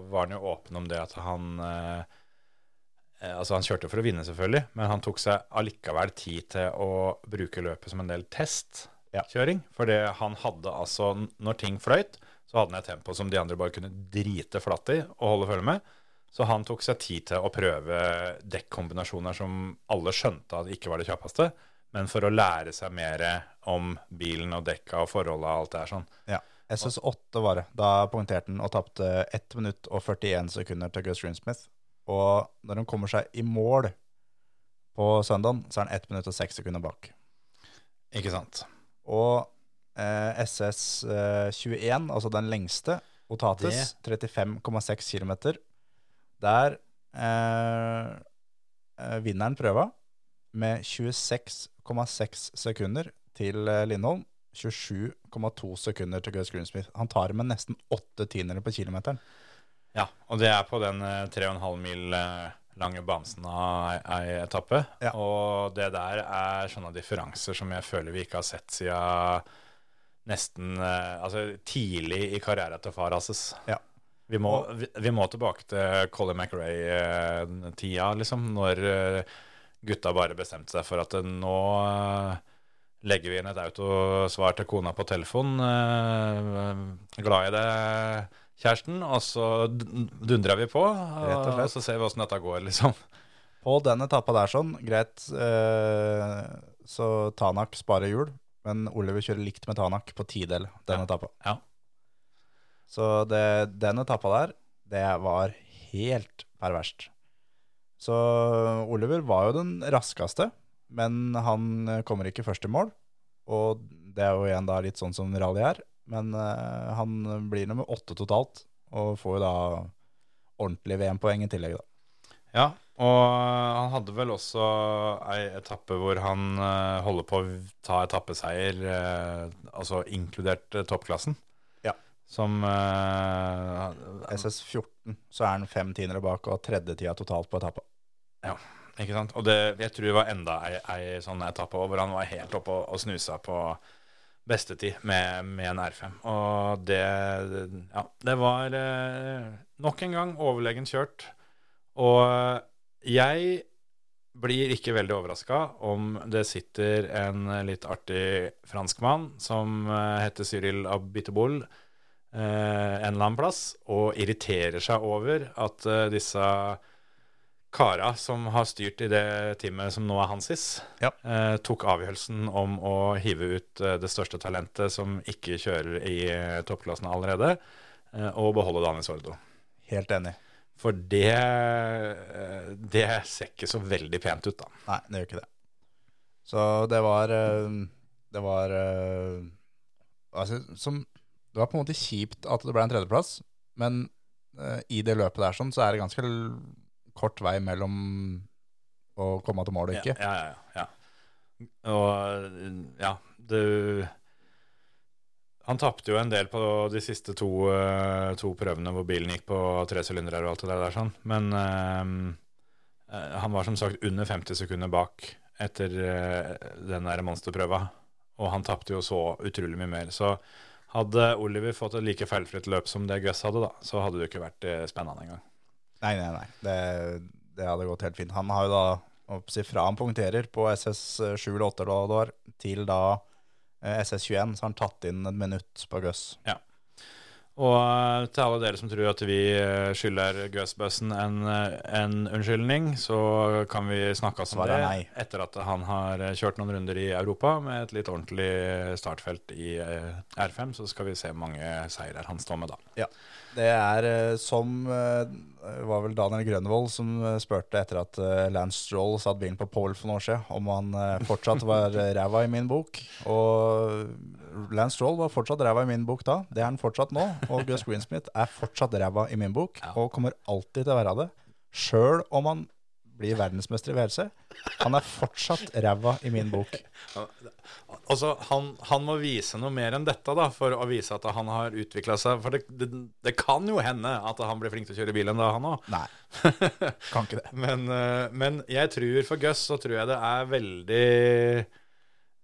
[SPEAKER 2] var han jo åpen om det at han øh, eh, Altså, han kjørte for å vinne, selvfølgelig, men han tok seg allikevel tid til å bruke løpet som en del testkjøring. For det han hadde altså Når ting fløyt, så hadde han et tempo som de andre bare kunne drite flatt i og holde følge med. Så han tok seg tid til å prøve dekkombinasjoner som alle skjønte at ikke var det kjappeste, men for å lære seg mer om bilen og dekka og forholda og alt det her sånn.
[SPEAKER 3] Ja. SS8 var det. Da poengterte han og tapte 1 minutt og 41 sekunder til Gus Greensmith. Og når han kommer seg i mål på søndagen, så er han 1 minutt og 6 sekunder bak.
[SPEAKER 2] Ikke sant?
[SPEAKER 3] Og eh, SS21, altså den lengste, Otates, 35,6 km. Der eh, eh, vinner han prøva med 26,6 sekunder til eh, Lindholm. 27,2 sekunder til Gus Greensmith. Han tar med nesten åtte tiendere på kilometeren.
[SPEAKER 2] Ja, og det er på den eh, 3,5 mil eh, lange bamsen av ei- ei etappe.
[SPEAKER 3] Ja.
[SPEAKER 2] Og det der er sånne differanser som jeg føler vi ikke har sett siden nesten eh, altså tidlig i karrieren til Farases.
[SPEAKER 3] Ja.
[SPEAKER 2] Vi må, vi, vi må tilbake til Colin McRae-tida, liksom, når eh, gutta bare bestemte seg for at eh, nå eh, legger vi inn et autosvar til kona på telefon. eh, Glad i deg, kjæresten. Og så dun- dundrer vi på,
[SPEAKER 3] Rett
[SPEAKER 2] og,
[SPEAKER 3] og slett.
[SPEAKER 2] og så ser vi åssen dette går, liksom.
[SPEAKER 3] På den etappa der sånn, greit, eh, så Tanak sparer hjul, men Oliver kjører likt med Tanak på tidel den etappa.
[SPEAKER 2] Ja.
[SPEAKER 3] Så det, den etappa der, det var helt perverst. Så Oliver var jo den raskeste, men han kommer ikke først i mål. Og det er jo igjen da litt sånn som rally er. Men eh, han blir nummer åtte totalt, og får jo da ordentlig VM-poeng i tillegg, da.
[SPEAKER 2] Ja, og han hadde vel også ei etappe hvor han eh, holder på å ta etappeseier, eh, altså inkludert eh, toppklassen.
[SPEAKER 3] Ja.
[SPEAKER 2] Som eh,
[SPEAKER 3] SS14 så er han fem tiendere bak, og tredje tida totalt på etappa.
[SPEAKER 2] Ja, ikke sant? Og det, jeg tror det var enda ei, ei sånn etappe hvor han var helt oppe og, og snusa på bestetid med, med en R5. Og det Ja, det var eh, nok en gang overlegent kjørt. Og jeg blir ikke veldig overraska om det sitter en litt artig franskmann som eh, heter Cyril Abiteboul eh, en eller annen plass og irriterer seg over at eh, disse kara som har styrt i det teamet som nå er Hansis,
[SPEAKER 3] Ja.
[SPEAKER 2] eh, tok avgjørelsen om å hive ut eh, det største talentet som ikke kjører i eh, toppklassen allerede, eh, og beholde Daniel Sordo.
[SPEAKER 3] Helt enig.
[SPEAKER 2] For det, eh, det ser ikke så veldig pent ut, da.
[SPEAKER 3] Nei, det gjør ikke det. Så det var eh, Det var eh, altså, som, Det var på en måte kjipt at det ble en tredjeplass, men eh, i det løpet der sånn, så er det ganske l- kort vei mellom å komme til mål og ikke.
[SPEAKER 2] Ja, ja, ja, ja. Og ja, du Han tapte jo en del på de siste to, eh, to prøvene hvor bilen gikk på tre sylindere og alt det der, sånn. men eh, eh, han var som sagt under 50 sekunder bak etter eh, den der monsterprøva. Og han tapte jo så utrolig mye mer. Så hadde Oliver fått et like feilfritt løp som det Gus hadde, da, så hadde det jo ikke vært eh, spennende engang.
[SPEAKER 3] Nei, nei, nei. Det, det hadde gått helt fint. Han har jo da, hva skal jeg si, fra han punkterer på SS 7 eller 8 eller hva det var, til da eh, SS 21, så har han tatt inn et minutt på Guss.
[SPEAKER 2] Og eh, til alle dere som tror at vi eh, skylder Gøsbøssen en, eh, en unnskyldning, så kan vi snakkes om
[SPEAKER 3] Svaret
[SPEAKER 2] det
[SPEAKER 3] er nei.
[SPEAKER 2] etter at han har eh, kjørt noen runder i Europa med et litt ordentlig startfelt i eh, R5, så skal vi se hvor mange seirer han står med da.
[SPEAKER 3] Ja. Det er eh, som eh, var vel Daniel Grønvold som eh, spurte etter at eh, Lance Stroll satt bilen på Paul for noen år siden, om han eh, fortsatt var eh, ræva i min bok. Og eh, Lance Stroll var fortsatt ræva i min bok da. Det er han fortsatt nå. Og Gus Greensmith er fortsatt ræva i min bok, og kommer alltid til å være det. Sjøl om han blir verdensmester i VRC. Han er fortsatt ræva i min bok.
[SPEAKER 2] Altså, han, han må vise noe mer enn dette da, for å vise at han har utvikla seg. For det, det, det kan jo hende at han blir flink til å kjøre bil enn da, han òg.
[SPEAKER 3] Nei, kan ikke det.
[SPEAKER 2] men, eh, men jeg tror for Gus så tror jeg det er veldig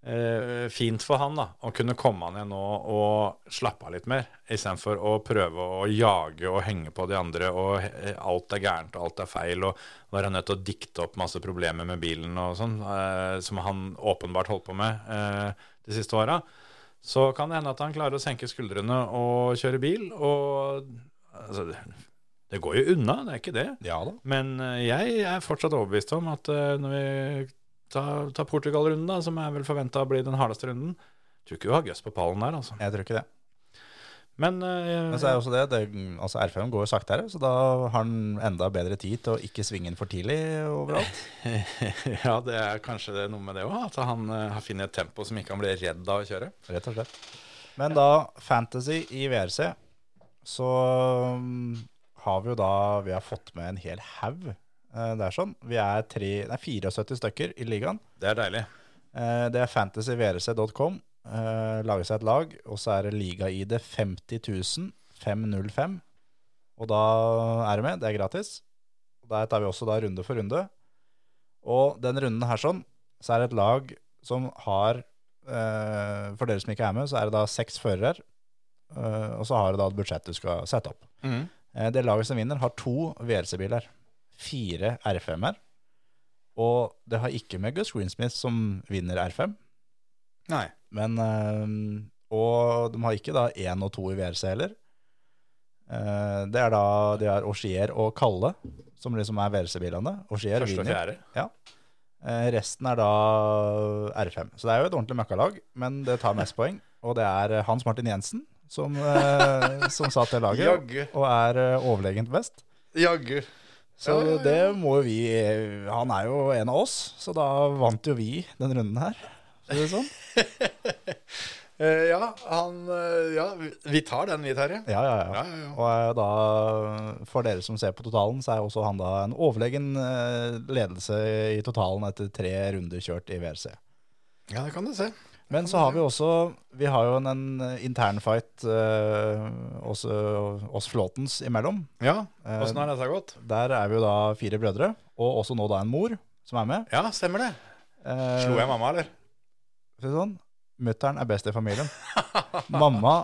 [SPEAKER 2] eh, fint for han da, å kunne komme han igjen nå og slappe av litt mer, istedenfor å prøve å jage og henge på de andre, og eh, alt er gærent og alt er feil, og være nødt til å dikte opp masse problemer med bilen og sånn, eh, som han åpenbart holdt på med eh, de siste åra. Så kan det hende at han klarer å senke skuldrene og kjøre bil, og altså, det- det går jo unna, det er ikke det.
[SPEAKER 3] Ja da.
[SPEAKER 2] Men eh, jeg er fortsatt overbevist om at eh, når vi tar, tar Portugal-runden, da, som er vel forventa å bli den hardeste runden Tror ikke vi har gøss på pallen der, altså.
[SPEAKER 3] Jeg tror ikke det.
[SPEAKER 2] Men eh,
[SPEAKER 3] Men så er jo også det, det altså R5 går jo saktere, så da har han enda bedre tid til å ikke svinge inn for tidlig overalt.
[SPEAKER 2] ja, det er kanskje det er noe med det òg, at han eh, har funnet et tempo som ikke han blir redd av å kjøre.
[SPEAKER 3] Rett og slett. Men da Fantasy i VRC, så mm, har vi jo da Vi har fått med en hel haug eh, der, sånn. Vi er tre, nei, 74 stykker i ligaen.
[SPEAKER 2] Det er deilig.
[SPEAKER 3] Eh, Det er fantasyvrc.com. eh, Lage seg et lag, og så er det liga-ID 505. Og da er du med. Det er gratis. Og Der tar vi også da runde for runde. Og den runden her sånn, så er det et lag som har eh, For dere som ikke er med, så er det da seks førere. eh, og så har du da et budsjett du skal sette opp. Eh, Det laget som vinner, har to VLC-biler. Fire R5-er. Og det har ikke med Gus Greensmith som vinner R5.
[SPEAKER 2] Nei.
[SPEAKER 3] Men, eh, og de har ikke da én og to i VRC heller. Eh, Det er da de har Auxier og Kalle, som liksom er VRC-bilene. Auxier
[SPEAKER 2] Første og
[SPEAKER 3] vinner.
[SPEAKER 2] fjerde.
[SPEAKER 3] Eh, Resten er da R5. Så det er jo et ordentlig møkkalag, men det tar mest poeng. Og det er eh, Hans Martin Jensen som, eh, som satt det laget,
[SPEAKER 2] Jaggu.
[SPEAKER 3] og er eh, overlegent best.
[SPEAKER 2] Jaggu.
[SPEAKER 3] Så det må jo vi eh, Han er jo en av oss, så da vant jo vi den runden her. For å si det sånn.
[SPEAKER 2] Eh, ja, han eh, Ja, vi- vi tar den, vi, Terje.
[SPEAKER 3] Ja, ja,
[SPEAKER 2] Ja,
[SPEAKER 3] ja.
[SPEAKER 2] ja, ja.
[SPEAKER 3] Og eh, da, for dere som ser på totalen, så er også han da en overlegen eh, ledelse i totalen etter tre runder kjørt i VRC.
[SPEAKER 2] Ja, det kan du se.
[SPEAKER 3] Men så har vi også Vi har jo en, en internfight eh, oss, oss Flåtens imellom. Eh,
[SPEAKER 2] Ja, Eh, åssen har dette gått?
[SPEAKER 3] Der er vi jo da fire brødre, og også nå da en mor som er med.
[SPEAKER 2] Ja, stemmer det.
[SPEAKER 3] Eh,
[SPEAKER 2] Slo jeg mamma, eller?
[SPEAKER 3] For å si det sånn, mutteren er best i familien. Mamma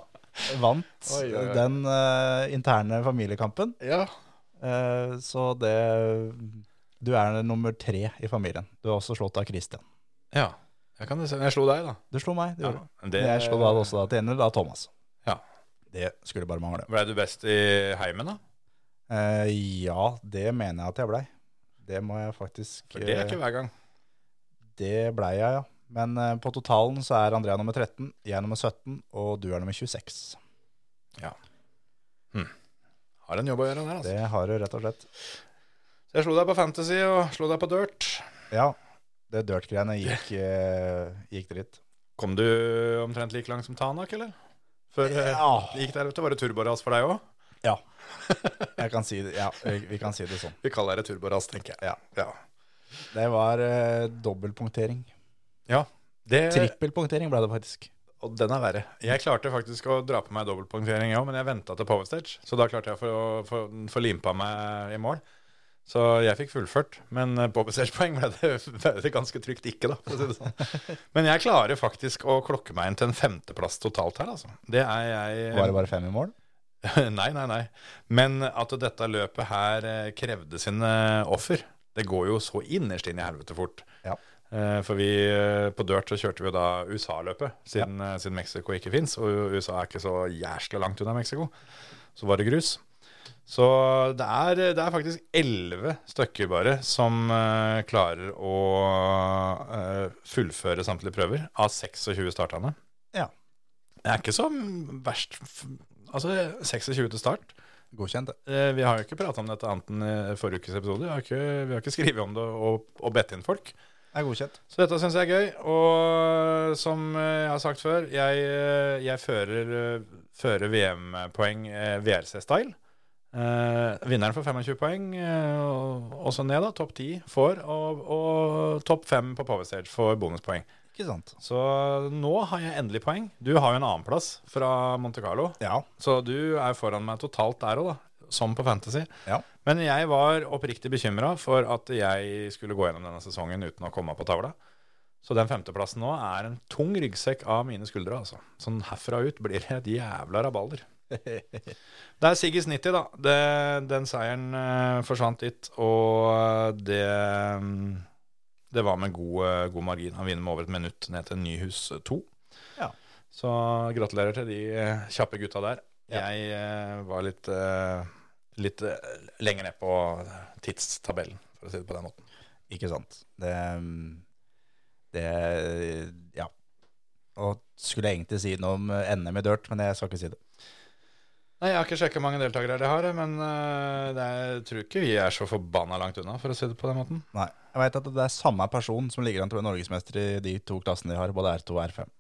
[SPEAKER 3] vant
[SPEAKER 2] Oi, oi, oi.
[SPEAKER 3] den eh, interne familiekampen,
[SPEAKER 2] Ja.
[SPEAKER 3] eh, så det Du er nummer tre i familien. Du har også slått av Christian.
[SPEAKER 2] Ja, jeg kan du se. Jeg slo deg, da.
[SPEAKER 3] Du slo meg, det
[SPEAKER 2] Ja,
[SPEAKER 3] gjorde du.
[SPEAKER 2] men det-
[SPEAKER 3] Men Jeg slo da også da til ende, da Thomas.
[SPEAKER 2] Ja.
[SPEAKER 3] Det skulle bare mangle.
[SPEAKER 2] Ble du best i heimen, da?
[SPEAKER 3] Eh, ja, det mener jeg at jeg blei. Det må jeg faktisk
[SPEAKER 2] For det er
[SPEAKER 3] eh,
[SPEAKER 2] ikke hver gang.
[SPEAKER 3] Det blei jeg, ja. Men eh, på totalen så er Andrea nummer 13, jeg nummer 17, og du er nummer 26.
[SPEAKER 2] Har en jobb å gjøre der, altså.
[SPEAKER 3] Det har du rett og slett.
[SPEAKER 2] Så jeg slo deg på Fantasy og slo deg på Dirt.
[SPEAKER 3] Ja, det dirt-greiene gikk, eh, gikk dritt.
[SPEAKER 2] Kom du omtrent like langt som Tanak, eller? Før eh,
[SPEAKER 3] Ja.
[SPEAKER 2] det gikk der, vet du. Var det turboras for deg òg?
[SPEAKER 3] Ja, jeg kan si det, ja vi, vi kan si det sånn.
[SPEAKER 2] Vi kaller det turboras, tenker jeg.
[SPEAKER 3] Ja.
[SPEAKER 2] Ja.
[SPEAKER 3] Det var eh, dobbeltpunktering.
[SPEAKER 2] ja. Det,
[SPEAKER 3] Trippelpunktering ble det faktisk.
[SPEAKER 2] og den er verre. Jeg klarte faktisk å dra på meg dobbeltpunktering, jeg òg, men jeg venta til powerstage. Så da klarte jeg å få- få få limpa meg i mål. Så jeg fikk fullført, men eh, på bestillingspoeng ble det, ble det ganske trygt ikke, da. For å si det sånn. Men jeg klarer faktisk å klokke meg inn til en femteplass totalt her, altså. Det er jeg
[SPEAKER 3] Var det bare fem i mål?
[SPEAKER 2] nei, nei, nei. Men at dette eh, løpet her eh, krevde sine offer. Det går jo så innerst inn i helvete fort.
[SPEAKER 3] Ja.
[SPEAKER 2] Eh, For vi, eh, på dirt så kjørte vi jo da USA-løpet, siden, eh, siden Mexico ikke fins. Og USA er ikke så jæskla langt unna Mexico. Så var det grus. Så det er, det er faktisk elleve stykker bare som eh, klarer å eh, fullføre samtlige prøver av 26 startende.
[SPEAKER 3] Ja.
[SPEAKER 2] Det er ikke så verst. f- Altså 26 til start.
[SPEAKER 3] Godkjent, det.
[SPEAKER 2] Eh, Vi har jo ikke prata om dette annet enn i forrige ukes episode. Vi har ikke, vi har ikke skrevet om det og, og bedt inn folk.
[SPEAKER 3] Det er godkjent.
[SPEAKER 2] Så dette syns jeg er gøy. Og som eh, jeg har sagt før, jeg, eh, jeg fører, eh, fører VM-poeng eh, VRC-style. Eh, vinneren får 25 poeng, eh, og, og så ned, da. Topp 10 får, og, og topp 5 på Power Stage får bonuspoeng.
[SPEAKER 3] Ikke sant?
[SPEAKER 2] Så nå har jeg endelig poeng. Du har jo en annenplass fra Monte Carlo.
[SPEAKER 3] Ja.
[SPEAKER 2] Så du er foran meg totalt der òg, da. Som på Fantasy.
[SPEAKER 3] Ja.
[SPEAKER 2] Men jeg var oppriktig bekymra for at jeg skulle gå gjennom denne sesongen uten å komme på tavla. Så den femteplassen nå er en tung ryggsekk av mine skuldre, altså. Sånn herfra ut blir det et jævla rabalder. Det er Siggis 90, da. Det, den seieren eh, forsvant litt, og eh, det mm, Det var med god, eh, god margin. Han vinner med over et minutt ned til Nyhus 2.
[SPEAKER 3] Ja.
[SPEAKER 2] Så gratulerer til de eh, kjappe gutta der. Jeg eh, var litt, eh, litt eh, lenger ned på tidstabellen, for å si det på den måten.
[SPEAKER 3] Ikke sant. Det, mm, det Ja. Og skulle egentlig si noe om eh, NM i dirt, men jeg skal ikke si det.
[SPEAKER 2] Nei, Jeg har ikke sjekka mange deltakere jeg har, men eh, det er, jeg tror ikke vi er så forbanna langt unna, for å si det på den måten.
[SPEAKER 3] Nei. Jeg veit at det er samme person som ligger an til å bli norgesmester i de to klassene de har, både R2 og R5.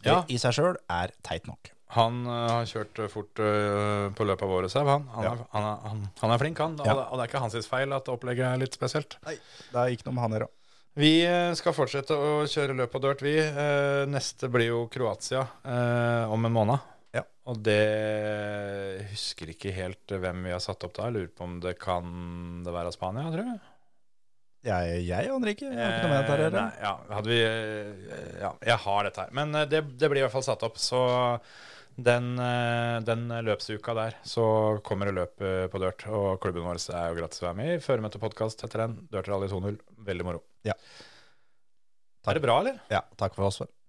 [SPEAKER 3] Det
[SPEAKER 2] Ja.
[SPEAKER 3] i seg sjøl er teit nok.
[SPEAKER 2] Han eh, har kjørt eh, fort eh, på løpet av året, sau. Han, han,
[SPEAKER 3] Ja.
[SPEAKER 2] er- han, er- han, han er flink, han. Og,
[SPEAKER 3] Ja.
[SPEAKER 2] det, og det er ikke hans sitt feil at opplegget er litt spesielt.
[SPEAKER 3] Det er ikke noe med han å gjøre.
[SPEAKER 2] Vi eh, skal fortsette å kjøre løp og dirt, vi. Eh, Neste blir jo Kroatia eh, om en måned.
[SPEAKER 3] Ja.
[SPEAKER 2] Og det jeg husker ikke helt eh, hvem vi har satt opp da. Jeg lurer på om det kan det være Spania, tror jeg.
[SPEAKER 3] Jeg, jeg aner ikke. Jeg har ikke noe med dette her
[SPEAKER 2] Eh,
[SPEAKER 3] å gjøre.
[SPEAKER 2] Nei, ja, hadde vi eh, Ja, jeg har dette her. Men eh, det, det blir i hvert fall satt opp, så den, eh, den løpsuka der, så kommer det løp eh, på dirt. Og klubben vår er jo gratis å være med i. Føremøtepodkast heter den. Dirt Rally 2.0. Veldig moro.
[SPEAKER 3] Ja.
[SPEAKER 2] Er det bra, eller?
[SPEAKER 3] Ja, takk for oss. vel.